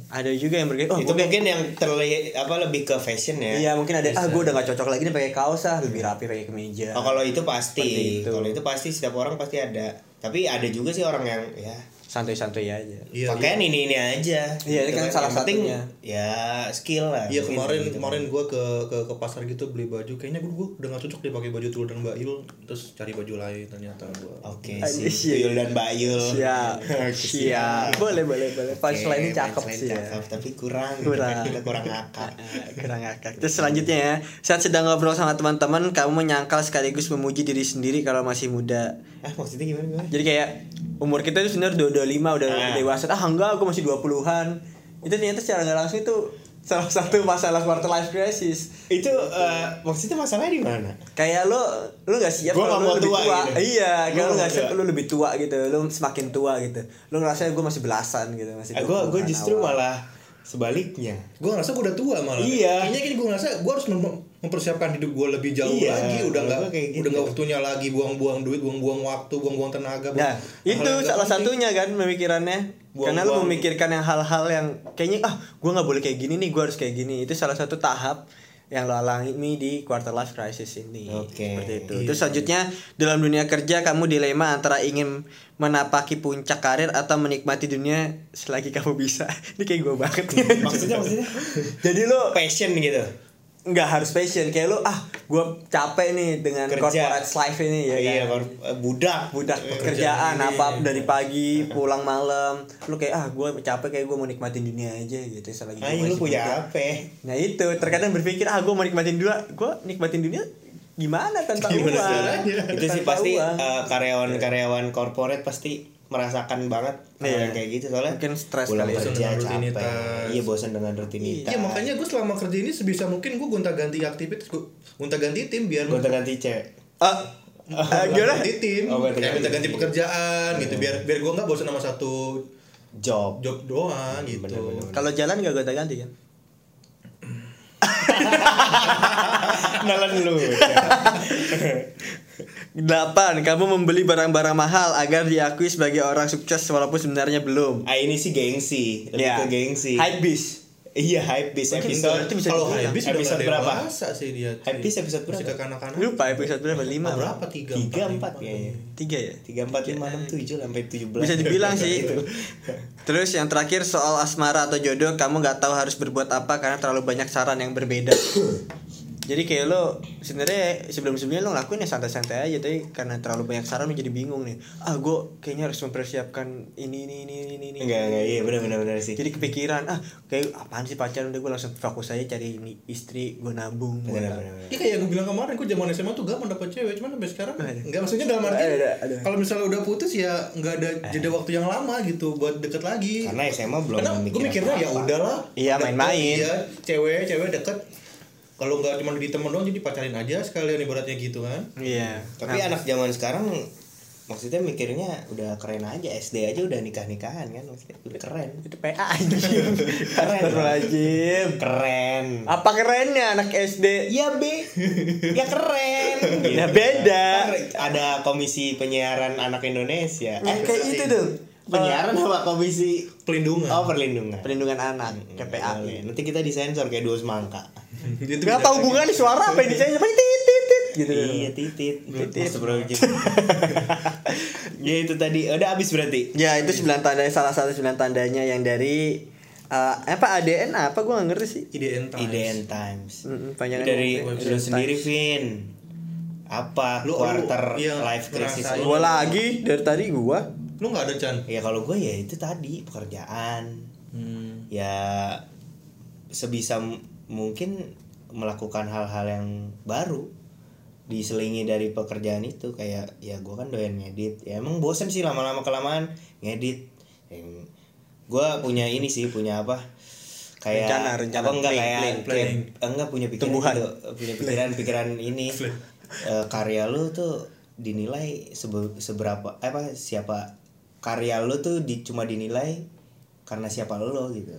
Speaker 1: Ada juga yang berkata oh
Speaker 4: itu
Speaker 1: gua kayak-
Speaker 4: mungkin yang terlihat apa lebih ke fashion ya
Speaker 1: iya mungkin ada ah gue udah gak cocok lagi nih pakai kaos ah lebih rapi pakai kemeja.
Speaker 4: Oh, kalau itu pasti,
Speaker 1: Seperti itu.
Speaker 4: kalau itu pasti setiap orang pasti ada. Tapi ada juga sih orang yang ya
Speaker 1: Santuy-santuy aja.
Speaker 2: Iya,
Speaker 4: pakaian ini ini aja. Gitu
Speaker 1: Iya, ini kan salah
Speaker 4: Yang penting,
Speaker 1: satunya.
Speaker 4: Ya skill lah.
Speaker 2: Iya
Speaker 4: mungkin
Speaker 2: kemarin
Speaker 4: gitu.
Speaker 2: kemarin gua ke, ke ke pasar gitu beli baju kayaknya gua, gua udah gak cocok deh pakai baju Tul dan Mbak Il terus cari baju lain ternyata gua.
Speaker 4: Oke
Speaker 1: Aduh,
Speaker 4: sih.
Speaker 1: siap.
Speaker 4: Tuyul dan Bayul. [laughs]
Speaker 1: Siap, siap. Boleh, boleh, boleh. Punchline-nya cakep sih ya.
Speaker 4: Cakep, tapi kurang.
Speaker 1: Kurang.
Speaker 4: Kurang. Kita kurang akal.
Speaker 1: [laughs] kurang ngakak. Terus selanjutnya ya, saat sedang ngobrol sama teman-teman, kamu menyangkal sekaligus memuji diri sendiri kalau masih muda.
Speaker 4: Ah maksudnya gimana gimana?
Speaker 1: Jadi kayak umur kita itu sebenarnya udah 25 udah
Speaker 4: Ah.
Speaker 1: dewasa. Ah enggak, aku masih 20-an. Itu ternyata secara nggak langsung itu salah satu masalah quarter life crisis.
Speaker 4: Itu eh, maksudnya masalahnya di mana?
Speaker 1: Kayak lo lo nggak siap
Speaker 4: Gua
Speaker 1: kalau
Speaker 4: nggak
Speaker 1: lo
Speaker 4: mau
Speaker 1: lebih
Speaker 4: tua
Speaker 1: tua.
Speaker 4: gitu.
Speaker 1: Iya, kalau lo
Speaker 4: Gua nggak
Speaker 1: nggak
Speaker 4: mau
Speaker 1: siap
Speaker 4: tua.
Speaker 1: lo lebih tua gitu. Lo semakin tua gitu. Lo ngerasa gue masih belasan gitu, masih.
Speaker 4: Ah, Gua gue
Speaker 1: 20-an
Speaker 4: justru
Speaker 1: awal.
Speaker 4: malah sebaliknya.
Speaker 2: Gua ngerasa gua udah tua malah.
Speaker 4: Iya.
Speaker 2: Kayaknya gini gua ngerasa gua harus mem- mempersiapkan hidup gua lebih jauh
Speaker 4: Iya,
Speaker 2: lagi udah
Speaker 4: kalau
Speaker 2: nggak
Speaker 4: gua kayak gitu.
Speaker 2: udah nggak waktunya lagi buang-buang duit, buang-buang waktu, buang-buang tenaga. buang-
Speaker 1: Nah, itu
Speaker 2: hal yang nggak
Speaker 1: salah
Speaker 2: penting.
Speaker 1: satunya kan pemikirannya.
Speaker 4: Buang-buang. gitu.
Speaker 1: Karena lu memikirkan yang hal-hal yang kayaknya ah gue nggak boleh kayak gini nih gue harus kayak gini itu salah satu tahap yang lo alami di quarter life crisis ini
Speaker 4: Oke. Iya.
Speaker 1: seperti itu. Terus selanjutnya dalam dunia kerja kamu dilema antara ingin menapaki puncak karir atau menikmati dunia selagi kamu bisa. [laughs] Ini kayak gue banget.
Speaker 4: [laughs] Maksudnya maksudnya
Speaker 1: Jadi lo
Speaker 4: passion gitu.
Speaker 1: nggak harus passion kayak lo ah gue capek nih dengan
Speaker 4: Kerja.
Speaker 1: corporate life ini ya.
Speaker 4: iya,
Speaker 1: kan?
Speaker 4: kor- eh, budak.
Speaker 1: budak pekerjaan
Speaker 4: iya,
Speaker 1: apa dari pagi pulang malam lu kayak ah gue capek kayak gue mau nikmatin dunia aja gitu selagi gua
Speaker 4: Ayo Ah,
Speaker 1: masih
Speaker 4: lu
Speaker 1: muda.
Speaker 4: punya apa?
Speaker 1: nah itu terkadang berpikir ah gue mau nikmatin dua gue nikmatin dunia gimana tanpa
Speaker 2: Gimana
Speaker 1: uang
Speaker 2: caranya?
Speaker 4: itu sih
Speaker 1: Tanpa
Speaker 4: pasti
Speaker 1: uang.
Speaker 4: eh, karyawan-karyawan korporat pasti merasakan banget hal
Speaker 1: Iya.
Speaker 4: yang kayak gitu soalnya
Speaker 1: Mungkin stres
Speaker 4: pulang
Speaker 1: kali ya.
Speaker 4: kerja
Speaker 2: Bosan dengan
Speaker 4: capek
Speaker 2: rutinitas.
Speaker 4: iya bosan dengan rutinitas
Speaker 2: Iya makanya gue selama kerja ini sebisa mungkin gue gonta-ganti aktivitas, gue gonta-ganti tim biar
Speaker 4: gonta ganti cewek
Speaker 1: ah ah, gimana
Speaker 2: Iya, ganti tim,
Speaker 4: Oh, ganti-ganti.
Speaker 2: kayak gonta-ganti pekerjaan gitu biar biar gue nggak bosan sama satu
Speaker 4: job [laughs]
Speaker 2: job doang gitu.
Speaker 1: kalau jalan gak gonta ganti kan
Speaker 4: kenalan lu
Speaker 1: Delapan, kamu membeli barang-barang mahal agar diakui sebagai orang sukses walaupun sebenarnya belum.
Speaker 4: ah ini sih gengsi lebih
Speaker 1: Ya.
Speaker 4: ke gengsi
Speaker 1: Hype beast.
Speaker 4: iya hype bis
Speaker 1: Mungkin
Speaker 4: episode
Speaker 1: itu bisa
Speaker 2: Kalau
Speaker 1: dibilang.
Speaker 2: habis udah
Speaker 4: Episode
Speaker 2: nggak
Speaker 4: berapa?
Speaker 2: dewasa sih dia.
Speaker 4: Habis episode
Speaker 2: Masih
Speaker 4: berapa?
Speaker 2: ke kanak-kanak.
Speaker 1: Lupa episode berapa? Lima
Speaker 2: Ah, berapa
Speaker 1: berapa?
Speaker 2: tiga
Speaker 4: tiga empat
Speaker 2: empat
Speaker 4: kayaknya
Speaker 1: Tiga ya?
Speaker 4: tiga empat lima enam tujuh sampai tujuh belas
Speaker 1: bisa dibilang sih
Speaker 4: Gitu.
Speaker 1: terus yang terakhir soal asmara atau jodoh kamu nggak tahu harus berbuat apa karena terlalu banyak saran yang berbeda jadi kayak lo sebenarnya sebelum sebelumnya lo ngelakuin ya santai-santai aja tapi karena terlalu banyak saran menjadi bingung nih ah gue kayaknya harus mempersiapkan ini ini ini ini ini
Speaker 4: enggak enggak iya benar benar benar sih
Speaker 1: jadi kepikiran ah kayak apaan sih pacaran udah gue langsung fokus aja cari ini istri gue nabung gua
Speaker 4: benar
Speaker 1: nabung.
Speaker 4: benar
Speaker 2: Ini Iya, kayak gue bilang kemarin, gue zaman SMA tuh gampang dapet cewek, cuman sampai sekarang
Speaker 1: Ada.
Speaker 2: nggak maksudnya dalam arti
Speaker 1: Ada, ada.
Speaker 2: kalau misalnya udah putus ya nggak ada jeda waktu yang lama gitu buat deket lagi.
Speaker 4: karena SMA belum
Speaker 2: Karena gue mikirnya ya
Speaker 4: apa-apa.
Speaker 2: udahlah.
Speaker 1: Iya,
Speaker 2: deket,
Speaker 1: main-main.
Speaker 2: Iya, cewek cewek deket. Kalau nggak cuma di temen doang jadi pacarin aja sekalian ibaratnya gitu kan.
Speaker 1: iya
Speaker 4: Tapi anak zaman sekarang maksudnya mikirnya udah keren aja SD aja udah nikah nikahan kan maksudnya udah keren
Speaker 1: itu PA anjing
Speaker 4: Keren.
Speaker 1: [laughs] Astagfirullahaladzim.
Speaker 4: keren
Speaker 1: apa kerennya anak SD
Speaker 4: ya B ya keren
Speaker 1: Ya, beda.
Speaker 4: Ntar ada komisi penyiaran anak
Speaker 1: Eh,
Speaker 4: Indonesia eh
Speaker 1: kayak itu tuh
Speaker 4: penyiaran apa komisi
Speaker 2: Pelindungan.
Speaker 4: oh perlindungan Hmm,
Speaker 1: perlindungan anak
Speaker 4: Boleh.
Speaker 1: KPAI
Speaker 4: nanti kita disensor kayak dua semangka
Speaker 2: Itu
Speaker 1: nggak tahu hubungannya suara apa yang dicari apa titit titit gitu
Speaker 4: iya titit
Speaker 1: Titit.
Speaker 4: Astagfirullahaladzim. ya itu tadi udah habis berarti
Speaker 1: ya itu sembilan tanda salah satu sembilan tandanya yang dari eh, apa ADN apa gue nggak ngerti sih
Speaker 2: IDN Times.
Speaker 4: IDN Times
Speaker 1: Mm-mm, panjangan
Speaker 4: dari
Speaker 1: ngomongnya.
Speaker 4: lu sendiri Vin apa
Speaker 2: Lu- lu-
Speaker 4: quarter
Speaker 2: iya,
Speaker 4: life crisis
Speaker 2: ngerasain.
Speaker 4: lu?
Speaker 1: gua lagi dari tadi gua
Speaker 2: Lu nggak ada Chan?
Speaker 4: ya kalau gue ya itu tadi pekerjaan
Speaker 2: Hmm.
Speaker 4: ya sebisa m- mungkin melakukan hal-hal yang baru diselingi dari pekerjaan itu kayak ya gue kan doyan ngedit ya emang bosen sih lama-lama kelamaan ngedit yang gue punya ini sih punya apa kayak
Speaker 1: Rencana, rencana.
Speaker 4: apa enggak
Speaker 1: Planning,
Speaker 4: kayak
Speaker 1: planning,
Speaker 4: kayak- enggak punya pikiran
Speaker 1: Tumbuhan.
Speaker 4: gitu, punya pikiran pikiran ini Eh, karya lu tuh dinilai sebe- seberapa eh, apa siapa karya lu tuh di, cuma dinilai karena siapa lo gitu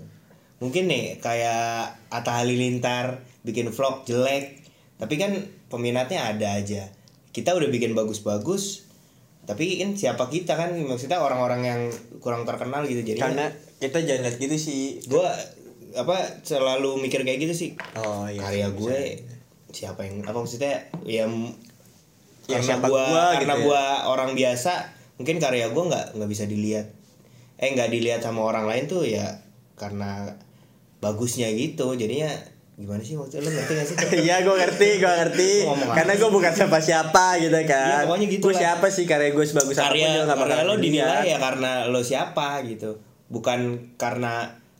Speaker 4: mungkin nih kayak Atta Halilintar bikin vlog jelek tapi kan peminatnya ada aja kita udah bikin bagus-bagus tapi kan siapa kita kan maksudnya orang-orang yang kurang terkenal gitu jadi
Speaker 1: karena kita jangan lihat gitu sih
Speaker 4: gue apa selalu mikir kayak gitu sih
Speaker 1: oh iya
Speaker 4: karya gue siapa yang apa maksudnya yang
Speaker 1: Ya,
Speaker 4: karena
Speaker 1: siapa
Speaker 4: gue
Speaker 1: gua gitu
Speaker 4: karena
Speaker 1: ya.
Speaker 4: gue orang biasa mungkin karya gue nggak nggak bisa dilihat eh nggak dilihat sama orang lain tuh ya karena bagusnya gitu jadinya gimana sih maksudnya lo ngerti gak
Speaker 1: [laughs]
Speaker 4: sih
Speaker 1: Iya gue ngerti, gue ngerti
Speaker 4: Ngomong apa?
Speaker 1: Karena gue bukan siapa-siapa gitu
Speaker 4: Iya,
Speaker 1: kan
Speaker 4: pokoknya gitu
Speaker 1: Gue
Speaker 4: lah.
Speaker 1: siapa sih karya gue sebagus apapun
Speaker 4: karya
Speaker 1: juga nggak
Speaker 4: karya
Speaker 1: bakal
Speaker 4: lo dinilai
Speaker 1: dilihat.
Speaker 4: ya karena lo siapa gitu bukan karena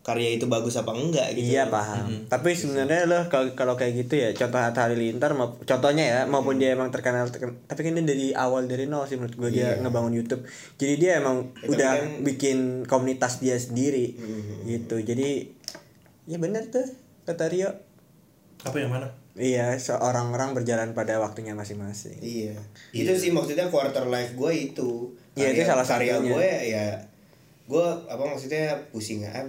Speaker 4: karya itu bagus apa enggak gitu
Speaker 1: Iya paham. Tapi sebenarnya lo kalau kalau kayak gitu ya contoh Atta Halilintar mau contohnya ya maupun dia emang terkenal, terken- tapi kan dia dari awal dari nol sih menurut gue dia ngebangun YouTube. Jadi dia emang
Speaker 4: tapi
Speaker 1: udah
Speaker 4: kan-
Speaker 1: bikin komunitas dia sendiri gitu. Jadi ya bener tuh kata Rio.
Speaker 2: apa yang mana
Speaker 1: Iya, seorang orang berjalan pada waktunya masing-masing.
Speaker 5: Iya. Itu sih maksudnya quarter life gue itu.
Speaker 1: Iya, itu
Speaker 5: Karya-
Speaker 1: salah
Speaker 5: karya
Speaker 1: satunya.
Speaker 5: gue ya gue apa maksudnya pusing ah,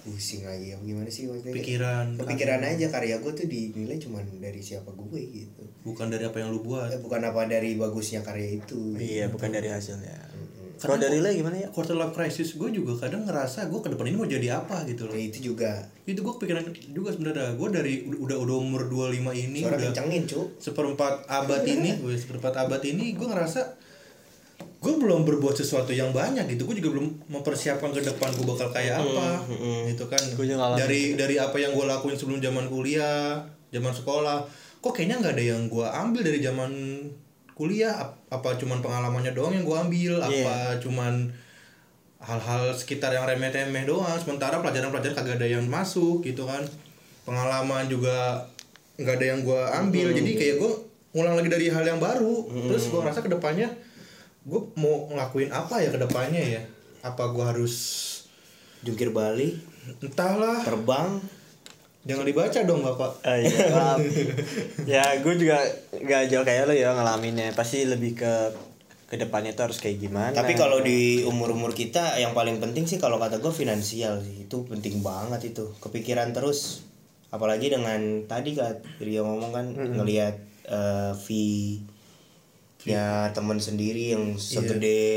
Speaker 5: pusing lagi apa gimana sih maksudnya?
Speaker 2: Pikiran.
Speaker 5: Kepikiran aja karya gue tuh dinilai cuman dari siapa gue gitu.
Speaker 2: bukan dari apa yang lu buat
Speaker 5: Eh, Bukan apa dari bagusnya karya itu.
Speaker 1: Iya, bukan dari hasilnya. Kalau
Speaker 2: Karena
Speaker 1: dari
Speaker 2: gua-
Speaker 1: lo gimana ya?
Speaker 2: quarter life crisis gue juga kadang ngerasa gue ke depan ini mau jadi apa gitu loh
Speaker 5: Ya, itu juga.
Speaker 2: itu gue kepikiran juga sebenarnya gue dari udah udah umur 25 ini
Speaker 5: Suara
Speaker 2: udah
Speaker 5: kencengin cu.
Speaker 2: seperempat abad
Speaker 1: [laughs]
Speaker 2: ini gue seperempat abad ini gue ngerasa gue belum berbuat sesuatu yang banyak gitu gue juga belum mempersiapkan ke depan gue bakal kayak apa gitu kan
Speaker 1: Gua juga ngalamin
Speaker 2: dari dari apa yang gue lakuin sebelum zaman kuliah zaman sekolah kok kayaknya nggak ada yang gue ambil dari zaman kuliah Ap- apa cuman pengalamannya doang yang gue ambil apa cuman hal-hal sekitar yang remeh-temeh doang sementara pelajaran-pelajaran kagak ada yang masuk gitu kan pengalaman juga nggak ada yang gua ambil jadi kayak gua ngulang lagi dari hal yang baru terus gua ngerasa kedepannya gua mau ngelakuin apa ya kedepannya ya apa gua harus
Speaker 4: jungkir balik
Speaker 2: entahlah
Speaker 4: terbang
Speaker 2: jangan dibaca dong bapak
Speaker 1: Eh,
Speaker 4: [laughs]
Speaker 1: iya, maaf. [laughs] ya gue juga gak jauh kayak lo ya ngalaminnya pasti lebih ke ke depannya tuh harus kayak gimana
Speaker 4: Tapi kalau di umur-umur kita yang paling penting sih kalau kata gue finansial sih itu penting banget itu kepikiran terus apalagi dengan tadi kan Rio ngomong kan ngelihat eh, fee ya teman sendiri yang
Speaker 1: Iya.
Speaker 4: segede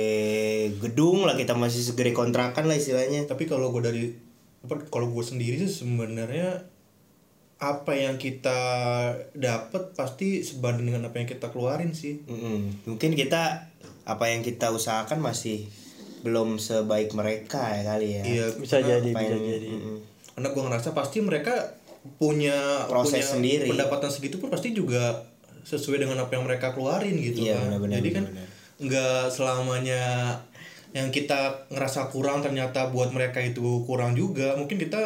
Speaker 4: gedung lah kita masih segede kontrakan lah istilahnya
Speaker 2: tapi kalau gue dari apa kalau gue sendiri sih sebenarnya apa yang kita dapat pasti sebanding dengan apa yang kita keluarin sih
Speaker 4: Mm-mm. mungkin kita apa yang kita usahakan masih belum sebaik mereka ya kali ya
Speaker 2: iya
Speaker 1: bisa jadi
Speaker 4: Apa
Speaker 1: bisa
Speaker 4: yang-
Speaker 1: jadi
Speaker 4: Mm-mm.
Speaker 2: karena gue ngerasa pasti mereka punya
Speaker 4: Proses
Speaker 2: punya
Speaker 4: sendiri.
Speaker 2: pendapatan segitu pun pasti juga sesuai dengan apa yang mereka keluarin gitu
Speaker 4: Iya,
Speaker 2: kan
Speaker 4: benar-benar,
Speaker 2: jadi kan
Speaker 4: benar-benar.
Speaker 2: nggak selamanya yang kita ngerasa kurang ternyata buat mereka itu kurang juga mungkin kita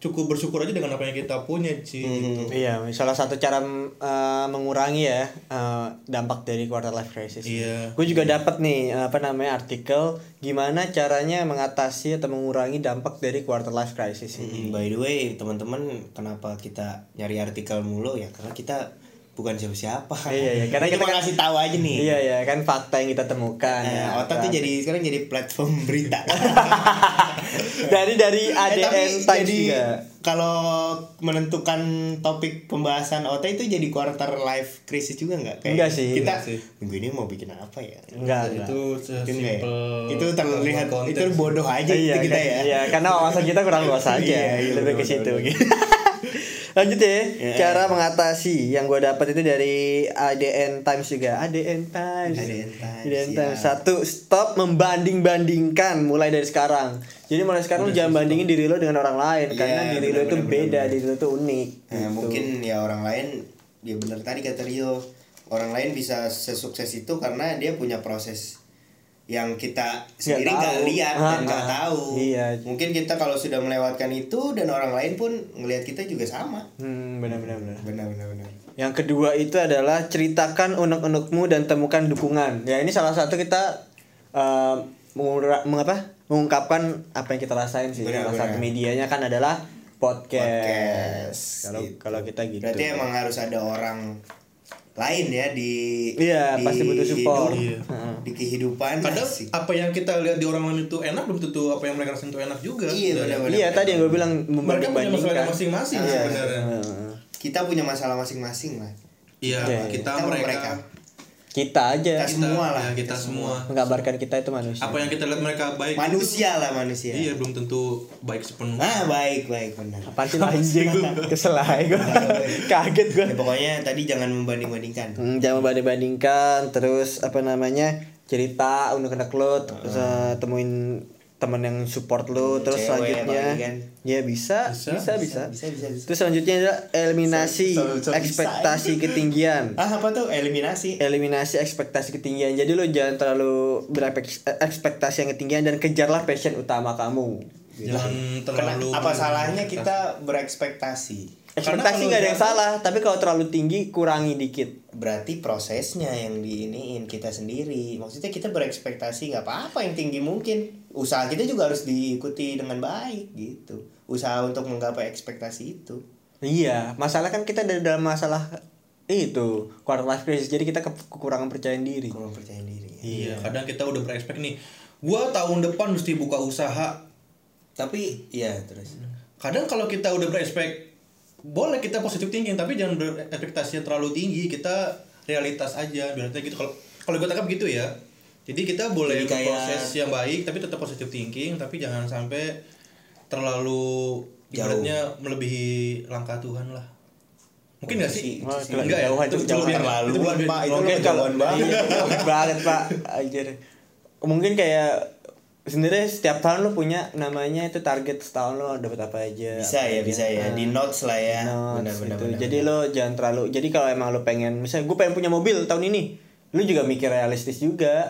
Speaker 2: cukup bersyukur aja dengan apa yang kita punya gitu. sih
Speaker 4: Hmm.
Speaker 1: iya salah satu cara mm, eh, mengurangi ya eh, dampak dari quarter life crisis
Speaker 2: Iya.
Speaker 1: gue juga dapat nih apa namanya artikel gimana caranya mengatasi atau mengurangi dampak dari quarter life crisis ini
Speaker 4: Hmm, By the way, teman-teman, kenapa kita nyari artikel mulu ya? Karena kita bukan siapa-siapa.
Speaker 1: Iya, iya, karena
Speaker 4: kita
Speaker 1: kita kan-
Speaker 4: ngasih tahu aja nih.
Speaker 1: iya ya kan fakta yang kita temukan
Speaker 4: Eh,
Speaker 1: ya,
Speaker 4: otak tuh
Speaker 1: kan.
Speaker 4: jadi sekarang jadi platform berita.
Speaker 1: [laughs] dari dari
Speaker 4: Eh,
Speaker 1: ADN Times
Speaker 4: jadi
Speaker 1: juga.
Speaker 4: kalau menentukan topik pembahasan OT itu jadi quarter life crisis juga nggak? Kayak
Speaker 1: Enggak sih.
Speaker 4: Kita
Speaker 2: Enggak sih.
Speaker 4: minggu ini mau bikin apa ya?
Speaker 1: enggak enggak.
Speaker 2: itu
Speaker 4: Mungkin nggak ya?
Speaker 2: sesimpel
Speaker 4: Itu terlihat
Speaker 2: buat konten
Speaker 4: itu
Speaker 2: sih.
Speaker 4: bodoh aja
Speaker 1: iya,
Speaker 4: gitu kita
Speaker 1: kan-
Speaker 4: ya.
Speaker 1: Iya, karena wawasan kita kurang luas aja.
Speaker 4: Iya, iya,
Speaker 1: lebih ke
Speaker 4: benar,
Speaker 1: situ.
Speaker 4: benar, benar.
Speaker 1: gitu. [laughs] Lanjut ya,
Speaker 4: Iya.
Speaker 1: cara mengatasi yang gue dapat itu dari ADN Times juga. ADN Times.
Speaker 5: ADN Times,
Speaker 4: iya.
Speaker 1: ADN
Speaker 5: siap.
Speaker 1: Times. Satu, stop membanding-bandingkan mulai dari sekarang. Jadi mulai sekarang lu jangan bandingin diri lo dengan orang lain
Speaker 5: Iya,
Speaker 1: karena diri
Speaker 5: benar,
Speaker 1: lo itu
Speaker 5: benar,
Speaker 1: beda,
Speaker 5: benar.
Speaker 1: diri lo itu unik.
Speaker 4: Nah,
Speaker 5: Eh,
Speaker 1: gitu.
Speaker 5: mungkin ya orang lain ya bener tadi kata Rio orang lain bisa sesukses itu karena dia punya proses yang kita sendiri nggak
Speaker 1: tahu.
Speaker 5: lihat dan
Speaker 1: Ah,
Speaker 5: nggak
Speaker 1: ah.
Speaker 5: tahu
Speaker 1: Iya.
Speaker 5: mungkin kita kalau sudah melewatkan itu dan orang lain pun ngelihat kita juga sama
Speaker 1: Hmm, benar-benar. benar.
Speaker 5: benar benar benar
Speaker 1: Yang kedua itu adalah ceritakan unek-unekmu dan temukan dukungan. Ya ini salah satu kita eh, mengura- mengapa mengungkapkan apa yang kita rasain sih.
Speaker 5: Benar,
Speaker 1: salah satu
Speaker 5: benar.
Speaker 1: medianya kan adalah podcast. Kalau
Speaker 4: gitu.
Speaker 1: kalau kita gitu.
Speaker 4: Berarti emang harus ada orang lain ya di
Speaker 1: Iya,
Speaker 4: di
Speaker 1: pasti butuh support. Iya.
Speaker 4: hidup,
Speaker 1: Heeh.
Speaker 4: di kehidupan
Speaker 2: kadang
Speaker 4: asik.
Speaker 2: apa yang kita lihat di orang lain itu enak belum tentu apa yang mereka rasain itu enak juga
Speaker 4: Iya, benar-benar.
Speaker 1: Iya tadi yang gue bilang Eh,
Speaker 2: mereka
Speaker 1: membanding
Speaker 2: punya masalahnya
Speaker 1: bandingkan.
Speaker 2: masing-masing
Speaker 4: Iya.
Speaker 2: sebenarnya
Speaker 4: kita punya masalah masing-masing lah
Speaker 2: iya
Speaker 1: Iya, iya.
Speaker 2: kita
Speaker 4: Kita
Speaker 2: mereka,
Speaker 4: mereka.
Speaker 1: Kita aja
Speaker 4: Kita semua lah.
Speaker 2: ya, kita semua
Speaker 1: menggambarkan kita itu manusia.
Speaker 2: apa yang kita lihat mereka baik
Speaker 4: manusia ya. lah manusia
Speaker 2: iya belum tentu baik sepenuhnya
Speaker 4: ah baik baik benar
Speaker 1: Apaan sih lu anjing Kesel aja gue Kaget gue
Speaker 4: Ya, pokoknya tadi jangan membanding-bandingkan
Speaker 1: Hmm, jangan membanding-bandingkan terus apa namanya cerita untuk anak lo
Speaker 4: Ah.
Speaker 1: t- eh, temuin temen yang support lo terus
Speaker 4: Hmm, cewek
Speaker 1: selanjutnya
Speaker 4: apalagi kan.
Speaker 1: ya bisa
Speaker 2: Bisa,
Speaker 1: bisa bisa,
Speaker 4: bisa bisa bisa
Speaker 1: terus selanjutnya adalah eliminasi
Speaker 4: Bisa, bisa, bisa.
Speaker 1: ekspektasi ketinggian
Speaker 4: ah apa tuh eliminasi
Speaker 1: eliminasi ekspektasi ketinggian jadi lo jangan terlalu berekspektasi yang ketinggian dan kejarlah passion utama kamu
Speaker 2: jangan
Speaker 4: Kena-
Speaker 2: terlalu
Speaker 4: apa salahnya kita berekspektasi
Speaker 1: ekspektasi
Speaker 2: kalau
Speaker 1: nggak ada yang
Speaker 2: jangan-
Speaker 1: salah tapi kalau terlalu tinggi kurangi dikit
Speaker 4: berarti prosesnya yang diiniin kita sendiri maksudnya kita berekspektasi nggak apa-apa yang tinggi mungkin usaha kita juga harus diikuti dengan baik gitu usaha untuk menggapai ekspektasi itu
Speaker 1: Iya, masalah kan kita dari dalam masalah itu quarter life crisis. Jadi kita ke- kekurangan percaya diri.
Speaker 4: kurang percaya diri
Speaker 2: iya kadang kita udah berekspek nih gua tahun depan mesti buka usaha
Speaker 4: tapi ya terus
Speaker 1: Hmm.
Speaker 2: kadang kalau kita udah berespek boleh kita positif thinking tapi jangan berekspektasinya terlalu tinggi kita realitas aja berarti gitu kalau kalau gue tangkap gitu ya jadi kita boleh
Speaker 4: Jadi kayak-
Speaker 2: proses yang baik tapi tetap positif thinking tapi jangan sampai terlalu
Speaker 4: Jauh.
Speaker 2: ibaratnya melebihi langkah Tuhan lah mungkin gak sih
Speaker 1: Wah, itu
Speaker 2: enggak ya
Speaker 1: jauhan,
Speaker 2: itu,
Speaker 1: itu
Speaker 2: itu
Speaker 1: jauhan.
Speaker 2: berlebihan. itu
Speaker 4: Terlaluan,
Speaker 2: berlebihan.
Speaker 4: Pak. Itu
Speaker 1: Mungkin
Speaker 4: lu
Speaker 1: kalau
Speaker 4: kejauhan banget.
Speaker 1: Iya, jauh banget pak, Anjir. Mungkin kayak sebenarnya setiap tahun lo punya namanya itu target setahun lo dapat apa aja.
Speaker 4: bisa
Speaker 1: apa
Speaker 4: ya
Speaker 1: aja.
Speaker 4: bisa ya di
Speaker 1: Nah,
Speaker 4: notes lah ya
Speaker 1: notes
Speaker 4: benar-benar
Speaker 1: gitu.
Speaker 4: benar.
Speaker 1: Jadi lo jangan terlalu. Jadi kalau emang lo pengen, misalnya gue pengen punya mobil tahun ini, lo juga mikir realistis juga.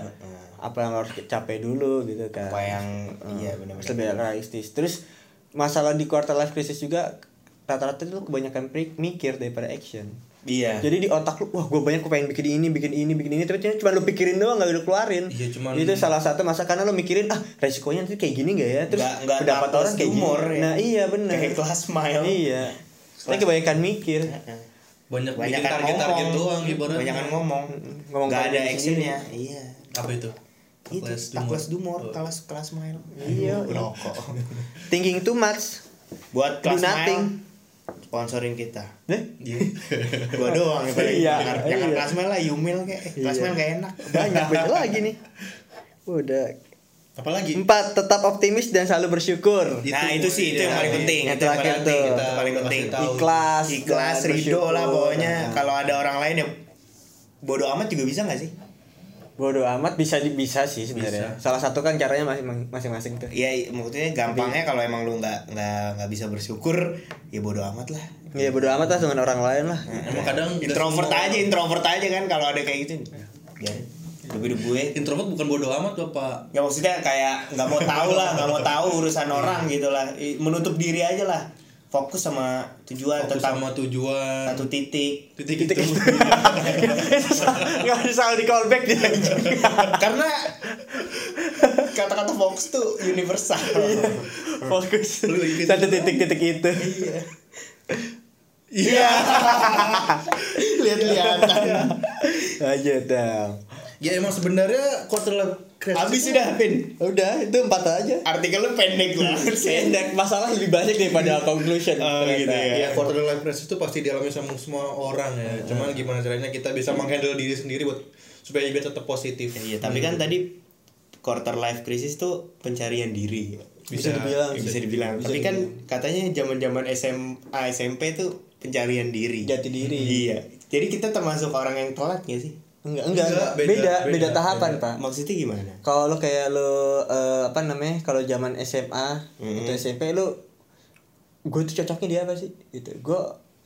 Speaker 1: Apa yang harus capai dulu gitu kan.
Speaker 4: apa yang
Speaker 1: Hmm,
Speaker 4: iya benar-benar
Speaker 1: lebih realistis terus masalah di quarter life crisis juga rata-rata itu kebanyakan pri- mikir daripada action
Speaker 4: iya
Speaker 1: jadi di otak lu wah gue banyak gue pengen bikin ini bikin ini bikin ini tapi ternyata cuma lu pikirin doang gak lu keluarin
Speaker 2: Iya, cuman-
Speaker 1: itu salah satu masa karena lu mikirin ah resikonya nanti kayak gini gak ya terus
Speaker 4: Nggak- nggak
Speaker 1: pendapat
Speaker 4: tapos
Speaker 1: orang kayak gini
Speaker 4: humor ya.
Speaker 1: nah iya benar
Speaker 4: kayak kelas mile Iya.
Speaker 1: iya tapi kebanyakan mikir
Speaker 2: banyak bikin
Speaker 4: banyak kan
Speaker 2: target target doang ibaratnya
Speaker 4: banyak kan ngomong
Speaker 1: Ngomong
Speaker 4: nggak ada
Speaker 1: target sendiri.
Speaker 4: actionnya iya
Speaker 2: apa itu
Speaker 4: itu
Speaker 2: Kelas
Speaker 4: tak kelas
Speaker 2: Dumor.
Speaker 4: dumor kelas kelas mile
Speaker 1: Iya, iya.
Speaker 4: [laughs] rokok
Speaker 1: thinking too much
Speaker 4: buat
Speaker 1: Do
Speaker 4: kelas
Speaker 1: nothing.
Speaker 4: mile sponsorin kita
Speaker 1: Deh,
Speaker 2: Iya.
Speaker 4: gua doang yang paling
Speaker 1: Iya,
Speaker 4: jangan, jangan
Speaker 1: iya.
Speaker 4: kelas mile lah yumil kayak eh, kelas
Speaker 1: Iya.
Speaker 4: mile gak enak
Speaker 1: banyak beda lagi nih udah
Speaker 2: apalagi
Speaker 1: empat tetap optimis dan selalu bersyukur
Speaker 4: [laughs] nah itu sih itu
Speaker 2: iya,
Speaker 4: yang paling
Speaker 2: iya.
Speaker 4: penting
Speaker 1: Yang
Speaker 4: itu yang
Speaker 1: terakhir
Speaker 4: paling penting
Speaker 1: tuh.
Speaker 4: itu yang paling penting
Speaker 2: Tahu.
Speaker 1: ikhlas
Speaker 4: ikhlas
Speaker 1: dan
Speaker 4: ridho lah
Speaker 1: bersyukur.
Speaker 4: pokoknya kalau ada orang lain ya bodoh amat juga bisa nggak sih
Speaker 1: bodoh amat bisa di- bisa sih sebenarnya salah satu kan caranya masing- masing-masing tuh
Speaker 4: Iya, maksudnya gampangnya kalau emang lu nggak nggak nggak bisa bersyukur, ya bodo amat lah.
Speaker 1: ya bodoh amat lah dengan orang lain [laughs] lah
Speaker 2: emang kadang nggak
Speaker 4: Introvert
Speaker 2: semua- Iya.
Speaker 4: aja, introvert aja kan kalau ada kayak gitu. Biarin. Lebih hidup gue.
Speaker 2: introvert bukan bodoh amat bapak
Speaker 4: Ya maksudnya kayak nggak mau tahu lah, nggak mau tahu urusan
Speaker 2: Iya.
Speaker 4: orang gitu lah. I- Menutup diri aja lah. Fokus sama tujuan
Speaker 2: fokus
Speaker 4: tetap
Speaker 2: sama tujuan
Speaker 4: satu titik.
Speaker 2: titik itu
Speaker 1: nggak bisa di callback dia
Speaker 4: Karena kata-kata fokus tuh universal.
Speaker 2: Iya.
Speaker 1: fokus
Speaker 2: Lu ikut
Speaker 1: satu titik-titik itu
Speaker 4: Iya. [laughs] Lihat-lihatan.
Speaker 1: Iya. aja dong
Speaker 2: [laughs] ya emang sebenarnya quarter life crisis
Speaker 4: Habis sudah, Pin.
Speaker 1: udah itu empat aja
Speaker 4: Artikelnya pendek
Speaker 2: Iya.
Speaker 4: banget sih.
Speaker 1: pendek masalah lebih banyak daripada conclusion Iya,
Speaker 4: Oh,
Speaker 1: ternyata.
Speaker 4: gitu ya. Hmm.
Speaker 2: ya quarter life crisis itu pasti dialami sama semua orang ya cuman gimana caranya kita bisa menghandle diri sendiri buat supaya biar tetap positif Gitu.
Speaker 4: Iya, tapi kan tadi quarter life crisis tuh pencarian diri.
Speaker 1: bisa dibilang
Speaker 4: Ya,
Speaker 1: sih.
Speaker 4: bisa dibilang.
Speaker 1: Bisa
Speaker 4: tapi kan katanya zaman-zaman SMA SMP tuh pencarian diri.
Speaker 1: Jati diri.
Speaker 4: Iya. Jadi kita termasuk orang yang telat gak sih?
Speaker 1: enggak enggak,
Speaker 2: Enggak,
Speaker 1: enggak. Beda, beda
Speaker 2: beda, beda,
Speaker 1: tahapan pak
Speaker 4: Maksudnya gimana?
Speaker 1: kalau lo kayak lo eh, apa namanya kalau zaman SMA atau
Speaker 4: Mm-hmm.
Speaker 1: SMP lo gue tuh cocoknya dia apa sih gitu gue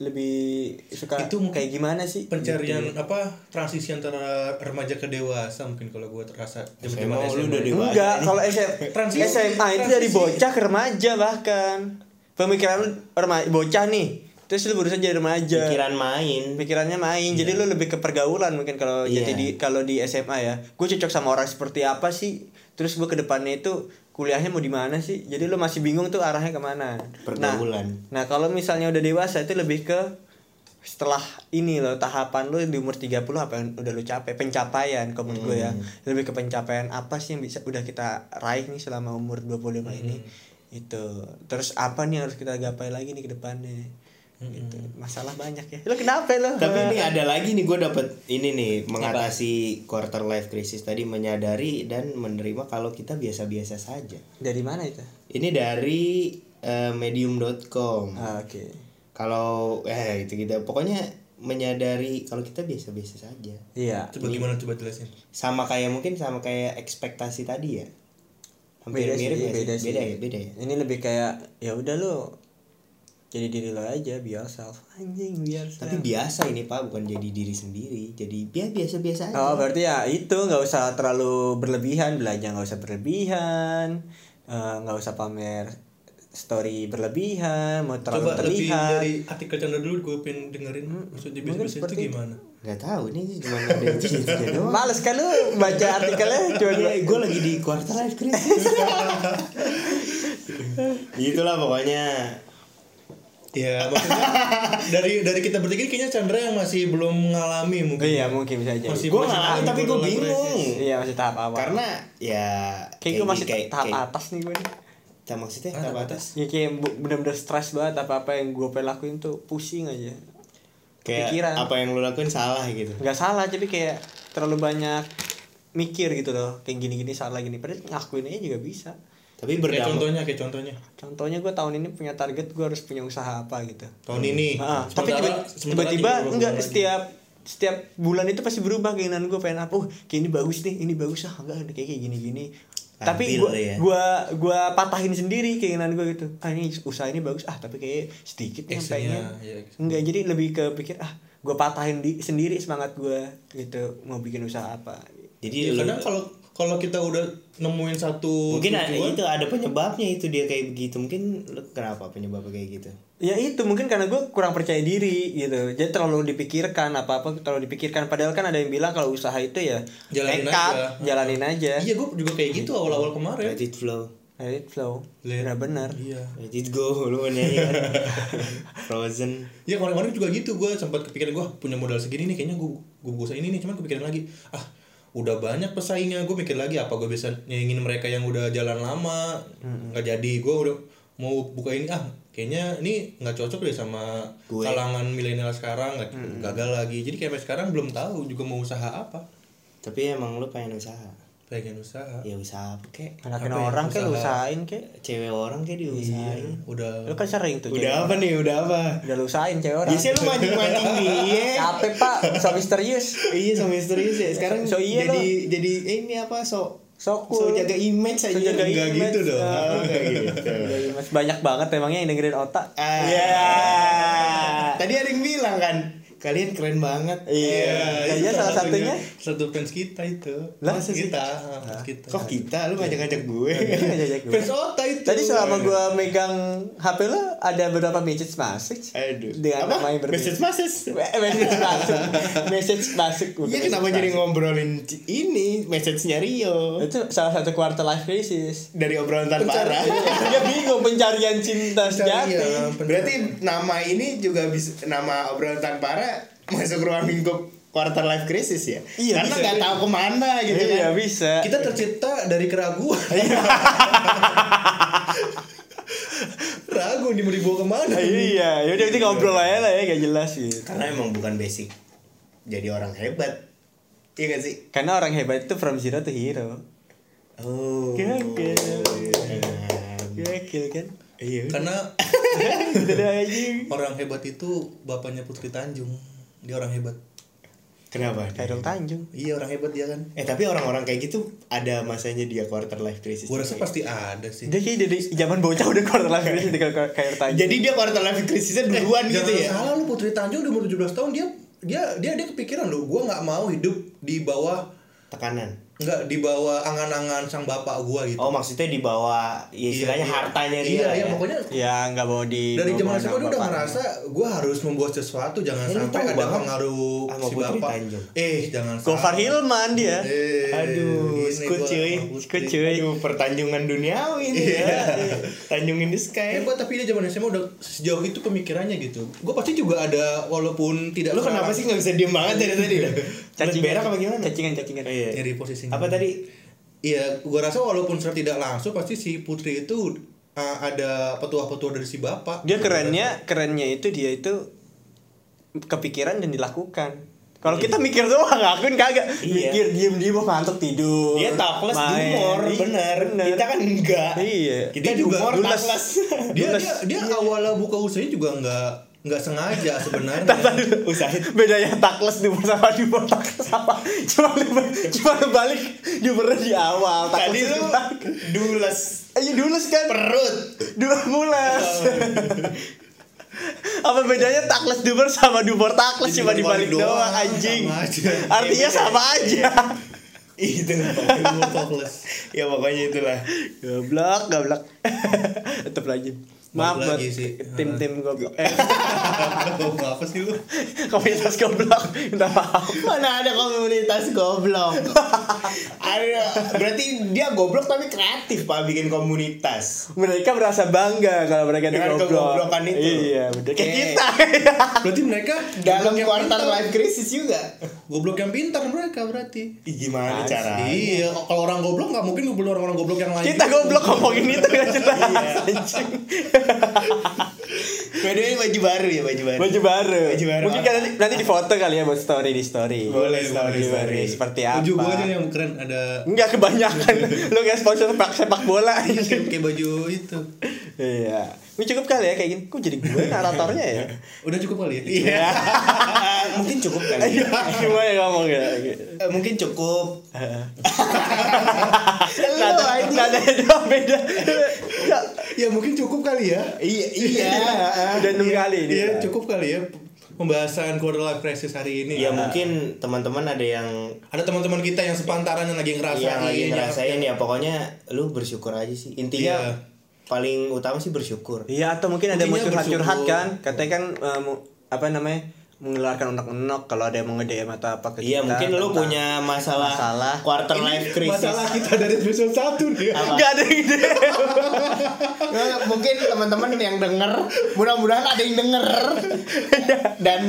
Speaker 1: lebih suka
Speaker 2: Itu mungkin
Speaker 1: kayak gimana sih
Speaker 2: pencarian
Speaker 4: Gitu.
Speaker 2: apa transisi antara remaja ke dewasa mungkin kalau gue terasa
Speaker 4: SMA,
Speaker 2: zaman-zaman
Speaker 4: lu udah
Speaker 2: SMA.
Speaker 4: dewa-
Speaker 1: enggak
Speaker 4: Gitu. Ini.
Speaker 1: kalau SM
Speaker 2: [laughs] Transisi,
Speaker 1: SMA itu dari
Speaker 2: transisi.
Speaker 1: bocah ke remaja bahkan pemikiran lo rema- bocah nih terus lo berusaha jadi remaja
Speaker 4: Pikiran main.
Speaker 1: pikirannya main jadi lu lebih ke pergaulan mungkin kalau
Speaker 4: Iya.
Speaker 1: jadi di kalau di SMA ya gue cocok sama orang seperti apa sih terus gue kedepannya itu kuliahnya mau di mana sih jadi lo masih bingung tuh arahnya kemana
Speaker 4: Pergaulan.
Speaker 1: nah, nah kalau misalnya udah dewasa itu lebih ke setelah ini loh tahapan lo di umur 30 apa yang udah lo capai pencapaian kalau menurut gue ya
Speaker 4: Hmm.
Speaker 1: lebih ke pencapaian apa sih yang bisa udah kita raih nih selama umur 25
Speaker 4: Hmm.
Speaker 1: ini itu terus apa nih yang harus kita gapai lagi nih ke depannya gitu masalah banyak ya lo kenapa lo
Speaker 4: Hmm. Tapi ini ada lagi nih gue dapet ini nih mengatasi quarter life crisis tadi menyadari dan menerima kalau kita biasa-biasa saja.
Speaker 1: dari mana itu
Speaker 4: Ini dari eh, medium.com.
Speaker 1: Ah, oke
Speaker 4: Kalau eh itu gitu pokoknya menyadari kalau kita biasa-biasa saja.
Speaker 1: iya
Speaker 2: Coba gimana coba jelasin.
Speaker 4: Sama kayak mungkin sama kayak ekspektasi tadi ya. Hampir
Speaker 1: beda sih, iya
Speaker 4: mirip ya
Speaker 1: beda
Speaker 4: sih?
Speaker 1: sih. Iya.
Speaker 4: Beda ya, beda ya.
Speaker 1: ini lebih kayak ya udah lo jadi diri lo aja be yourself anjing be yourself
Speaker 4: Tapi biasa ini Pak, bukan jadi diri sendiri. Jadi dia biasa-biasa aja.
Speaker 1: Oh berarti ya itu nggak usah terlalu berlebihan belanja nggak usah berlebihan eh, nggak usah pamer story berlebihan mau terlalu
Speaker 2: Coba lebih
Speaker 1: terlihat
Speaker 2: dari artikel Chandra dulu gue pengen dengerin
Speaker 4: Hmm,
Speaker 2: maksudnya bisnis itu gimana.
Speaker 4: Gak tahu ini cuma ada yang
Speaker 1: [laughs]
Speaker 4: gitu doang.
Speaker 1: males kan lu baca artikelnya cuma
Speaker 4: gue Iya, lagi di quarter life crisis [laughs] Itulah pokoknya
Speaker 2: Ya maksudnya [laughs] dari dari kita bertiga ini kayaknya Chandra yang masih belum mengalami
Speaker 1: Oh,
Speaker 2: mungkin.
Speaker 1: iya mungkin bisa jadi
Speaker 2: Masih-
Speaker 4: Gue ngalamin tapi gue
Speaker 2: Quarter life
Speaker 4: bingung
Speaker 1: iya masih tahap awal
Speaker 4: Karena ya
Speaker 1: kayak gue masih
Speaker 4: kayak,
Speaker 1: tahap
Speaker 4: kayak,
Speaker 1: atas nih gue nih
Speaker 4: kita
Speaker 2: Ah,
Speaker 4: maksudnya tahap atas
Speaker 1: ya kayak bu- bener-bener stres banget apa apa yang gue pengen lakuin tuh pusing aja
Speaker 4: Kayak
Speaker 1: Kepikiran.
Speaker 4: apa yang lu lakuin salah gitu
Speaker 1: nggak salah tapi kayak terlalu banyak mikir gitu loh kayak gini-gini salah gini padahal ngakuin aja juga bisa
Speaker 4: Tapi
Speaker 2: Kayak
Speaker 4: berdampak
Speaker 2: contohnya, kayak contohnya.
Speaker 1: contohnya gue tahun ini punya target gue harus punya usaha apa gitu
Speaker 2: Tahun ini.
Speaker 1: Ah, tapi
Speaker 2: Sementara-
Speaker 1: tiba-
Speaker 2: sementara tiga
Speaker 1: tiba-tiba
Speaker 2: bulan
Speaker 1: enggak
Speaker 2: lagi.
Speaker 1: setiap setiap bulan itu pasti berubah keinginan gue pengen apa uh kayak ini bagus nih ini bagus ah enggak ada kayak kayak gini gini tapi
Speaker 4: Labil
Speaker 1: gua,
Speaker 4: ya.
Speaker 1: gua gua patahin sendiri keinginan gue gitu ah ini usaha ini bagus ah tapi kayak sedikit nih yang pengen
Speaker 2: Actionnya, iya.
Speaker 1: enggak jadi lebih ke pikir ah gue patahin di, sendiri semangat gue gitu mau bikin usaha apa
Speaker 2: Ya,
Speaker 4: Jadi lu-
Speaker 2: kadang kalau kalau kita udah nemuin satu
Speaker 4: Mungkin ada,
Speaker 2: tujuan,
Speaker 4: itu ada penyebabnya itu dia kayak begitu Mungkin lu kenapa penyebabnya kayak gitu
Speaker 1: ya itu mungkin karena gue kurang percaya diri gitu jadi terlalu dipikirkan apa apa terlalu dipikirkan padahal kan ada yang bilang kalau usaha itu ya
Speaker 2: Jalanin
Speaker 1: nekat
Speaker 2: aja.
Speaker 1: jalanin aja
Speaker 4: ya.
Speaker 2: Iya, gue juga kayak gitu awal-awal
Speaker 1: ya?
Speaker 2: kemarin.
Speaker 4: Let it flow
Speaker 1: let it flow
Speaker 2: Let-
Speaker 1: udah benar
Speaker 2: Iya.
Speaker 4: Let it go Lu
Speaker 1: [laughs]
Speaker 4: nyanyi kan? Frozen
Speaker 2: Iya kemarin-kemarin juga gitu gue sempat kepikiran gue punya modal segini nih kayaknya gue gue bisa ini nih cuman kepikiran lagi ah udah banyak pesaingnya gue mikir lagi apa gue bisa nyaingin mereka yang udah jalan lama
Speaker 1: Hmm.
Speaker 2: nggak jadi gue udah mau buka ini ah kayaknya ini nggak cocok deh sama kalangan milenial sekarang nggak
Speaker 1: Hmm.
Speaker 2: gagal lagi jadi kayak sampai sekarang belum tahu juga mau usaha apa
Speaker 4: Tapi emang lu pengen usaha
Speaker 2: pengen usaha
Speaker 4: Ya usaha apa kek
Speaker 1: ngelakuin
Speaker 2: Apa ya,
Speaker 1: orang kayak
Speaker 2: usaha.
Speaker 1: usahain kayak
Speaker 4: Cewek orang
Speaker 1: Iya.
Speaker 4: kayak diusahain
Speaker 1: lu
Speaker 2: udah
Speaker 1: kan sering tuh
Speaker 4: Udah
Speaker 1: cewek.
Speaker 4: apa nih, udah apa?
Speaker 1: udah lu usahain cewek orang
Speaker 4: Biasanya lu mancing-mancing dia.
Speaker 1: capek pak so misterius
Speaker 4: Iya, so misterius ya. Sekarang
Speaker 1: So iya
Speaker 4: jadi jadi eh, ini apa so
Speaker 1: so
Speaker 4: so
Speaker 1: cool
Speaker 4: jaga image aja.
Speaker 1: So jaga
Speaker 4: Enggak
Speaker 1: image.
Speaker 4: gitu dong.
Speaker 1: Ah.
Speaker 4: Oh, enggak gitu.
Speaker 1: Jaga image. iya, banyak banget emangnya yang dengerin otak
Speaker 4: Ah.
Speaker 1: Iya.
Speaker 4: Tadi ada yang bilang kan, kalian keren banget.
Speaker 1: iya kayaknya salah satunya
Speaker 2: satu fans kita itu
Speaker 1: Lah,
Speaker 2: fans
Speaker 1: sih?
Speaker 2: kita ah, fans kita
Speaker 4: Eh, Kok kita lu ngajak-ngajak gue?
Speaker 1: Ngajak Iya. gue.
Speaker 2: fans Ota itu
Speaker 1: iya, Tadi selama gua megang HP lo ada berapa message masuk?
Speaker 4: Aduh.
Speaker 1: Dengan
Speaker 4: apa?
Speaker 1: nama yang berbeda.
Speaker 4: Message masses.
Speaker 1: Eh, [laughs] message masuk. message masuk. bukan
Speaker 4: Iya kenapa
Speaker 1: message
Speaker 4: jadi ngobrolin c- ini message-nya
Speaker 1: masuk.
Speaker 4: Rio
Speaker 1: Itu salah satu quarter life crisis.
Speaker 4: dari obrolan tanpa arah.
Speaker 1: Dia bingung pencarian cinta
Speaker 2: Iya,
Speaker 1: sejati.
Speaker 2: bener.
Speaker 4: [laughs] Berarti nama ini juga bisa nama obrolan tanpa arah masuk ruang lingkup quarter life crisis ya.
Speaker 1: Iya,
Speaker 4: Karena
Speaker 1: bisa.
Speaker 4: nggak tahu kemana gitu
Speaker 1: Iya
Speaker 4: kan.
Speaker 1: bisa.
Speaker 2: kita tercipta dari keraguan
Speaker 4: Iya.
Speaker 2: [laughs] ragu nih mau dibawa kemana
Speaker 1: Iya, yaudah itu ngobrol aja lah ya gak jelas gitu.
Speaker 4: Karena emang bukan basic jadi orang hebat. Iya gak sih?
Speaker 1: Karena orang hebat itu from zero to hero.
Speaker 4: Oh.
Speaker 1: Gagal.
Speaker 4: Nah,
Speaker 1: Gokil kan?
Speaker 4: Iya.
Speaker 2: karena
Speaker 1: Gitu deh anjing.
Speaker 2: orang hebat itu bapaknya Putri Tanjung dia orang hebat
Speaker 4: Kenapa?
Speaker 1: Khairul Tanjung.
Speaker 2: iya orang hebat dia kan
Speaker 4: Eh tapi orang-orang kayak gitu ada masanya dia quarter life crisis.
Speaker 2: gua rasa pasti ada sih
Speaker 1: Dia kayak dari zaman bocah udah quarter life crisis di Khairul Tanjung.
Speaker 4: Jadi dia quarter life crisisnya duluan
Speaker 2: Eh,
Speaker 4: gitu
Speaker 2: jangan
Speaker 4: ya.
Speaker 2: salah lu Putri Tanjung udah umur 17 tahun dia dia dia dia kepikiran lu gua nggak mau hidup di bawah
Speaker 4: Tekanan.
Speaker 2: Enggak di bawah angan-angan sang bapak gua gitu.
Speaker 4: Oh maksudnya di bawah ya istilahnya
Speaker 2: Iya, iya.
Speaker 4: hartanya dia
Speaker 2: Iya,
Speaker 4: lah
Speaker 2: iya,
Speaker 4: ya.
Speaker 2: pokoknya
Speaker 1: ya nggak mau di
Speaker 2: dari zaman
Speaker 1: bawa
Speaker 2: SMA dia udah
Speaker 1: bapak.
Speaker 2: ngerasa gua harus membuat sesuatu jangan
Speaker 4: Eh, lu
Speaker 2: sampai
Speaker 4: tahu
Speaker 2: ada
Speaker 4: banget
Speaker 2: pengaruh
Speaker 4: sama
Speaker 2: si
Speaker 4: Putri
Speaker 2: bapak.
Speaker 4: Tanjung.
Speaker 2: Eh, jangan
Speaker 1: Gofar Hilman dia
Speaker 2: Eh,
Speaker 4: Aduh,
Speaker 2: ini
Speaker 4: skut
Speaker 2: gua
Speaker 4: cuy,
Speaker 2: sama
Speaker 1: skut
Speaker 2: Putri.
Speaker 1: cuy
Speaker 4: Aduh, pertanjungan duniawi ini
Speaker 2: Iya.
Speaker 4: ya. Tanjung in the sky.
Speaker 2: Hebat Iya, tapi dia zaman SMA udah sejauh itu pemikirannya gitu. Gua pasti juga ada walaupun tidak
Speaker 4: Lu kenapa sih nggak bisa diem banget dari tadi?
Speaker 2: Iya.
Speaker 4: dah? Mulut berak apa gimana?
Speaker 1: cacingan cacingan
Speaker 4: Oh, iya.
Speaker 2: nyari posisinya.
Speaker 4: Apa tadi?
Speaker 2: Iya, gua rasa walaupun secara tidak langsung pasti si Putri itu uh, ada petua-petua dari si bapak.
Speaker 1: dia kerennya kerennya itu dia itu kepikiran dan dilakukan kalau kita mikir doang akun kagak
Speaker 4: Iya.
Speaker 1: mikir diem diem mau ngantuk tidur
Speaker 4: Dia takles
Speaker 1: main.
Speaker 4: humor,
Speaker 1: Iya,
Speaker 4: bener. Kita
Speaker 1: [laughs]
Speaker 4: kan enggak.
Speaker 1: iya
Speaker 4: Kita
Speaker 2: Dia juga
Speaker 4: juga humor
Speaker 2: lulas.
Speaker 4: takles.
Speaker 2: Dia
Speaker 1: Lulas.
Speaker 2: dia, dia
Speaker 1: Iya.
Speaker 2: awalnya buka usahanya juga nggak nggak sengaja sebenarnya.
Speaker 4: Usahin.
Speaker 1: bedanya takles ya, di sama di takles apa cuma lu cuma lu balik di di awal
Speaker 4: Tadi
Speaker 1: takles
Speaker 4: lu
Speaker 1: di balik.
Speaker 4: dules
Speaker 1: ayo dulu kan
Speaker 4: perut.
Speaker 1: dua mulas apa bedanya takles duber sama duber takles cuma dibalik doang anjing
Speaker 2: Sama aja.
Speaker 1: artinya
Speaker 4: Iya, bener.
Speaker 1: sama aja
Speaker 4: Itu.
Speaker 2: Ilmu toples.
Speaker 4: ya pokoknya itulah.
Speaker 1: goblok goblok tetap lagi maaf
Speaker 2: Balik
Speaker 1: buat
Speaker 4: ya
Speaker 2: lagi sih.
Speaker 1: tim tim goblok eh
Speaker 2: Ngomong apa sih lu?
Speaker 1: komunitas goblok minta maaf
Speaker 4: Mana ada komunitas [laughs] goblok? ada berarti dia goblok tapi kreatif Pak bikin komunitas.
Speaker 1: mereka merasa bangga kalau mereka itu
Speaker 4: Dengan
Speaker 1: goblok
Speaker 4: kegoblokan itu.
Speaker 1: iya bener kayak
Speaker 4: Oke.
Speaker 1: kita
Speaker 2: Berarti mereka
Speaker 4: Dalam
Speaker 2: goblok yang
Speaker 4: kuartal
Speaker 2: pintar.
Speaker 4: life crisis juga.
Speaker 2: Goblok yang pintar mereka berarti.
Speaker 4: Ih, Gimana
Speaker 1: Asli.
Speaker 4: cara?
Speaker 2: Iya, kalau orang goblok nggak mungkin ngobrol orang-orang goblok yang lain.
Speaker 1: kita goblok ngomongin itu gak jelas
Speaker 4: Iya.
Speaker 1: anjing
Speaker 4: By the way, baju baru ya baju baru.
Speaker 1: baju baru
Speaker 4: Baju baru.
Speaker 1: mungkin kalian nanti, nanti di foto kali ya buat story di story
Speaker 4: Boleh, story,
Speaker 1: Baju baru
Speaker 4: story.
Speaker 1: seperti apa
Speaker 2: Baju gua aja yang keren
Speaker 1: [laughs]
Speaker 2: ada
Speaker 1: Enggak kebanyakan Lu kayak sponsor sepak, sepak bola
Speaker 2: kayak kayak baju itu.
Speaker 1: Iya Ini cukup kali ya kayak gini Kok jadi gue naratornya ya
Speaker 2: Udah cukup kali ya?
Speaker 1: [laughs] Iya
Speaker 4: Ah, mungkin cukup kali.
Speaker 1: Cuma ya ngomong ya
Speaker 4: Eh, mungkin cukup.
Speaker 1: Nada nada doang beda Ya,
Speaker 2: Ya mungkin cukup kali ya.
Speaker 1: Iya iya Udah 6 kali ini
Speaker 2: Iya, cukup kali ya pembahasan quarter life crisis hari ini.
Speaker 1: Iya,
Speaker 4: Ya mungkin teman-teman ada yang
Speaker 2: Ada teman-teman kita yang sepantaran yang lagi ngerasain.
Speaker 1: Iya,
Speaker 4: yang lagi
Speaker 2: yang-
Speaker 4: ngerasain ya pokoknya lu bersyukur aja sih. Intinya
Speaker 2: Iya.
Speaker 4: paling utama sih bersyukur.
Speaker 1: Iya atau mungkin ada
Speaker 2: Intinya
Speaker 1: muncul curhat
Speaker 2: bersyukur.
Speaker 1: kan Katanya kan eh, mu- Apa namanya Mengeluarkan unek-unek Kalau ada yang nge-DM atau apa ke
Speaker 4: Iya
Speaker 1: kita
Speaker 4: mungkin lu
Speaker 1: tentang-
Speaker 4: punya masalah,
Speaker 1: masalah.
Speaker 4: quarter
Speaker 2: Ini
Speaker 4: life crisis.
Speaker 2: Masalah kita dari episode 1 nih.
Speaker 1: Enggak ada yang
Speaker 4: [laughs]
Speaker 1: DM
Speaker 4: Nah, mungkin teman-teman yang denger, mudah-mudahan ada yang denger dan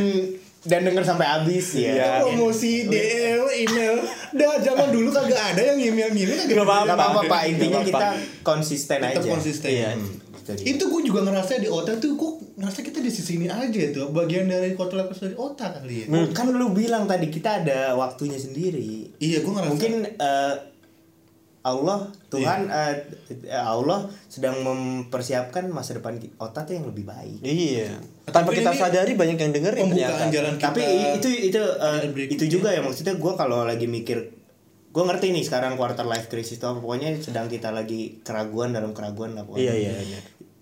Speaker 4: dan denger sampai habis ya.
Speaker 1: Iya.
Speaker 2: Promosi DL email. Dah zaman dulu kagak ada yang email-email kagak
Speaker 1: Nggak apa-apa.
Speaker 4: Gak apa-apa Pak, intinya
Speaker 1: Nggak
Speaker 4: kita
Speaker 1: apa-apa.
Speaker 4: konsisten
Speaker 2: Tetap
Speaker 4: aja.
Speaker 2: konsisten.
Speaker 1: Iya.
Speaker 4: Hmm, gitu dia.
Speaker 2: Itu gue juga ngerasa di otak tuh gue ngerasa kita di sisi ini aja tuh bagian dari quarter life crisis dari otak kali ya.
Speaker 4: Kan lu bilang tadi kita ada waktunya sendiri.
Speaker 2: Iya, gue ngerasa.
Speaker 4: Mungkin eh, Allah Tuhan eh, eh, Allah sedang mempersiapkan masa depan ki- otak tuh yang lebih baik.
Speaker 1: Iya Tanpa
Speaker 2: Tapi
Speaker 1: kita
Speaker 2: ini
Speaker 1: sadari banyak yang dengerin
Speaker 2: pembukaan
Speaker 1: ternyata
Speaker 2: jalan kita.
Speaker 4: ya tapi i- itu itu eh,
Speaker 2: break
Speaker 4: itu juga ya maksudnya gue kalau lagi mikir gue ngerti nih sekarang quarter life crisis itu apa pokoknya sedang kita lagi keraguan dalam keraguan lah pokoknya
Speaker 1: Iya iya iya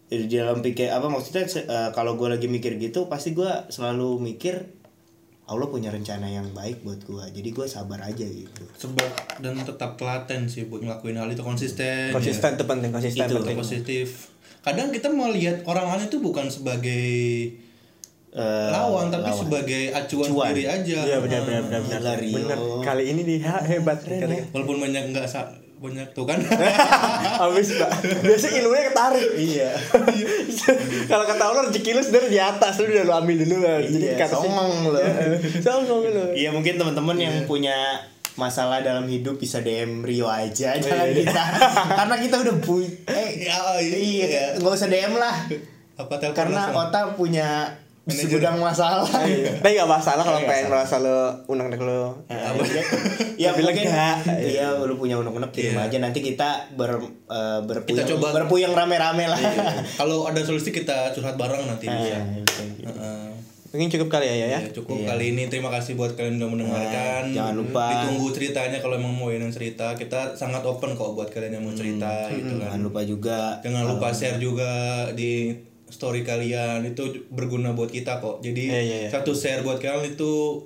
Speaker 4: Jadi di dalam pikir apa maksudnya se- eh, kalau gue lagi mikir gitu pasti gue selalu mikir Allah punya rencana yang baik buat gue jadi gue sabar aja gitu
Speaker 2: sebab dan tetap telaten sih buat ngelakuin hal itu konsisten.
Speaker 1: konsisten itu penting konsisten
Speaker 2: Itu
Speaker 1: penting
Speaker 2: positif. Kadang kita melihat orang lain itu bukan sebagai
Speaker 4: Eh,
Speaker 2: lawan tapi
Speaker 4: lawan.
Speaker 2: sebagai acuan,
Speaker 4: Acuan.
Speaker 2: sendiri aja.
Speaker 1: iya benar benar benar benar
Speaker 4: Gila, Rio.
Speaker 1: benar kali ini dia hebat keren [laughs] ya.
Speaker 2: Walaupun banyak nggak sa- banyak tuh kan.
Speaker 1: Abis pak Biasa ilmunya ketarik
Speaker 4: iya
Speaker 1: [laughs] Kalau kata Allah rezeki lu sebenernya di atas Lu udah lu ambil dulu kan Jadi
Speaker 4: Iya,
Speaker 1: kata sih
Speaker 4: songong
Speaker 1: [laughs]
Speaker 4: lu.
Speaker 1: Songong lu
Speaker 4: Iya mungkin teman-teman yang punya masalah dalam hidup bisa DM Rio aja jangan [laughs] kita karena kita udah punya eh
Speaker 2: [laughs] Ya,
Speaker 4: iya
Speaker 2: iya.
Speaker 4: nggak usah DM lah
Speaker 2: Apa telepon
Speaker 4: karena
Speaker 2: langsung?
Speaker 4: otak punya
Speaker 2: Manajer.
Speaker 4: segudang masalah
Speaker 1: Tapi gak masalah kalau
Speaker 4: Iya. Nggak
Speaker 1: pengen merasa lu Undang-undang lu
Speaker 4: [laughs] Nah, ya
Speaker 1: Tapi
Speaker 4: mungkin
Speaker 1: lega.
Speaker 4: iya lu punya unek-unek kirim
Speaker 2: Iya.
Speaker 4: aja nanti kita ber eh, berpuyang
Speaker 2: Kita coba. Iya.
Speaker 4: berpuyang rame-rame lah [laughs] Nah,
Speaker 2: Kalau ada solusi kita curhat bareng
Speaker 4: Eh.
Speaker 2: nanti bisa. Heeh.
Speaker 1: Mungkin cukup kali ya ya, ya
Speaker 2: Ya, cukup kali ini terima kasih buat kalian yang udah mendengarkan.
Speaker 1: Eh,
Speaker 4: Nah, jangan lupa.
Speaker 2: ditunggu ceritanya kalau emang mau yang cerita kita sangat open kok buat kalian yang mau
Speaker 1: Hmm.
Speaker 2: cerita gitu kan.
Speaker 4: jangan lupa juga
Speaker 2: Jangan lupa share juga di story kalian itu berguna buat kita kok. Jadi
Speaker 1: Iya, iya, iya.
Speaker 2: satu share buat kalian itu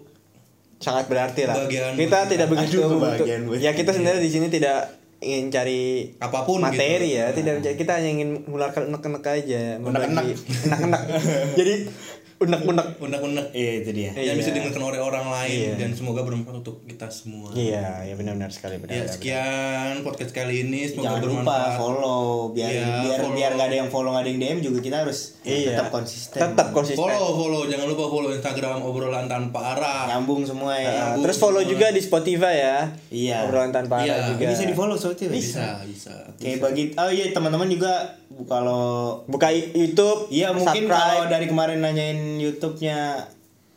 Speaker 1: sangat berarti lah.
Speaker 2: Kebahagiaan
Speaker 1: kita
Speaker 2: buat
Speaker 1: tidak begitu
Speaker 4: Aduh,
Speaker 1: membentuk-
Speaker 4: kebahagiaan buat
Speaker 1: Ya kita sebenarnya di sini tidak ingin cari
Speaker 2: Apapun
Speaker 1: materi
Speaker 2: gitu.
Speaker 1: ya, tidak mencari- kita hanya ingin mengeluarkan unek-unek aja, membagi
Speaker 4: [laughs]
Speaker 1: unek-unek. Jadi unek-unek.
Speaker 2: Nah, unek-unek
Speaker 4: Iya itu dia.
Speaker 2: yang bisa
Speaker 1: Iya.
Speaker 2: didengarkan oleh orang
Speaker 1: Iya.
Speaker 2: lain dan semoga bermanfaat untuk kita semua.
Speaker 1: Iya, ya benar-benar sekali
Speaker 2: Ya,
Speaker 1: benar.
Speaker 2: sekian podcast kali ini semoga
Speaker 4: Jangan lupa
Speaker 2: bermanfaat.
Speaker 4: follow biar
Speaker 2: Iya,
Speaker 4: biar
Speaker 2: follow.
Speaker 4: biar nggak ada yang follow nggak ada yang DM juga kita harus
Speaker 1: Iya.
Speaker 4: tetap konsisten.
Speaker 1: Tetap konsisten.
Speaker 2: follow, follow, jangan lupa follow Instagram obrolan tanpa arah.
Speaker 4: Nyambung semua ya.
Speaker 1: Nah, terus follow juga di Spotify ya.
Speaker 4: Iya.
Speaker 1: Obrolan tanpa
Speaker 2: Iya,
Speaker 1: arah juga.
Speaker 4: Bisa di follow soalnya
Speaker 2: Bisa, bisa.
Speaker 4: Kayak bagi oh iya teman-teman juga kalau
Speaker 1: Buka i- YouTube,
Speaker 4: iya mungkin
Speaker 1: subscribe.
Speaker 4: kalau dari kemarin nanyain YouTube-nya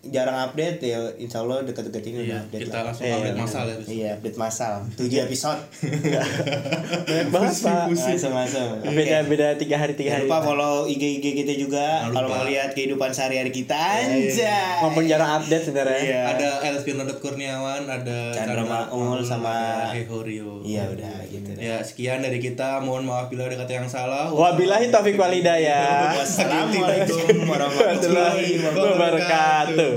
Speaker 4: jarang update ya insya Allah dekat-dekat ini udah
Speaker 2: Iya,
Speaker 4: update
Speaker 2: kita
Speaker 4: lah.
Speaker 2: langsung update masalah ya.
Speaker 4: Iya update masal 7 episode
Speaker 1: Banyak banget, Pak. Iya.
Speaker 4: masuk-masuk. Oke.
Speaker 1: Beda-beda tiga hari tiga
Speaker 4: Jangan
Speaker 1: hari.
Speaker 4: lupa follow IG-IG kita juga
Speaker 2: Jangan lupa. Iya,
Speaker 4: kalau mau lihat kehidupan sehari-hari kita anjay.
Speaker 1: Maupun jarang update sebenarnya.
Speaker 4: Iya.
Speaker 2: Ada Elvino Kurniawan, ada
Speaker 4: Chandra Maul sama-
Speaker 2: ada Hehorio.
Speaker 4: Iya udah gitu. deh.
Speaker 2: Ya, sekian dari kita. Mohon maaf bila ada kata yang salah.
Speaker 1: Wabillahi taufiq walhidayah.
Speaker 4: Wassalamualaikum warahmatullahi wabarakatuh.
Speaker 1: Wabarakatuh.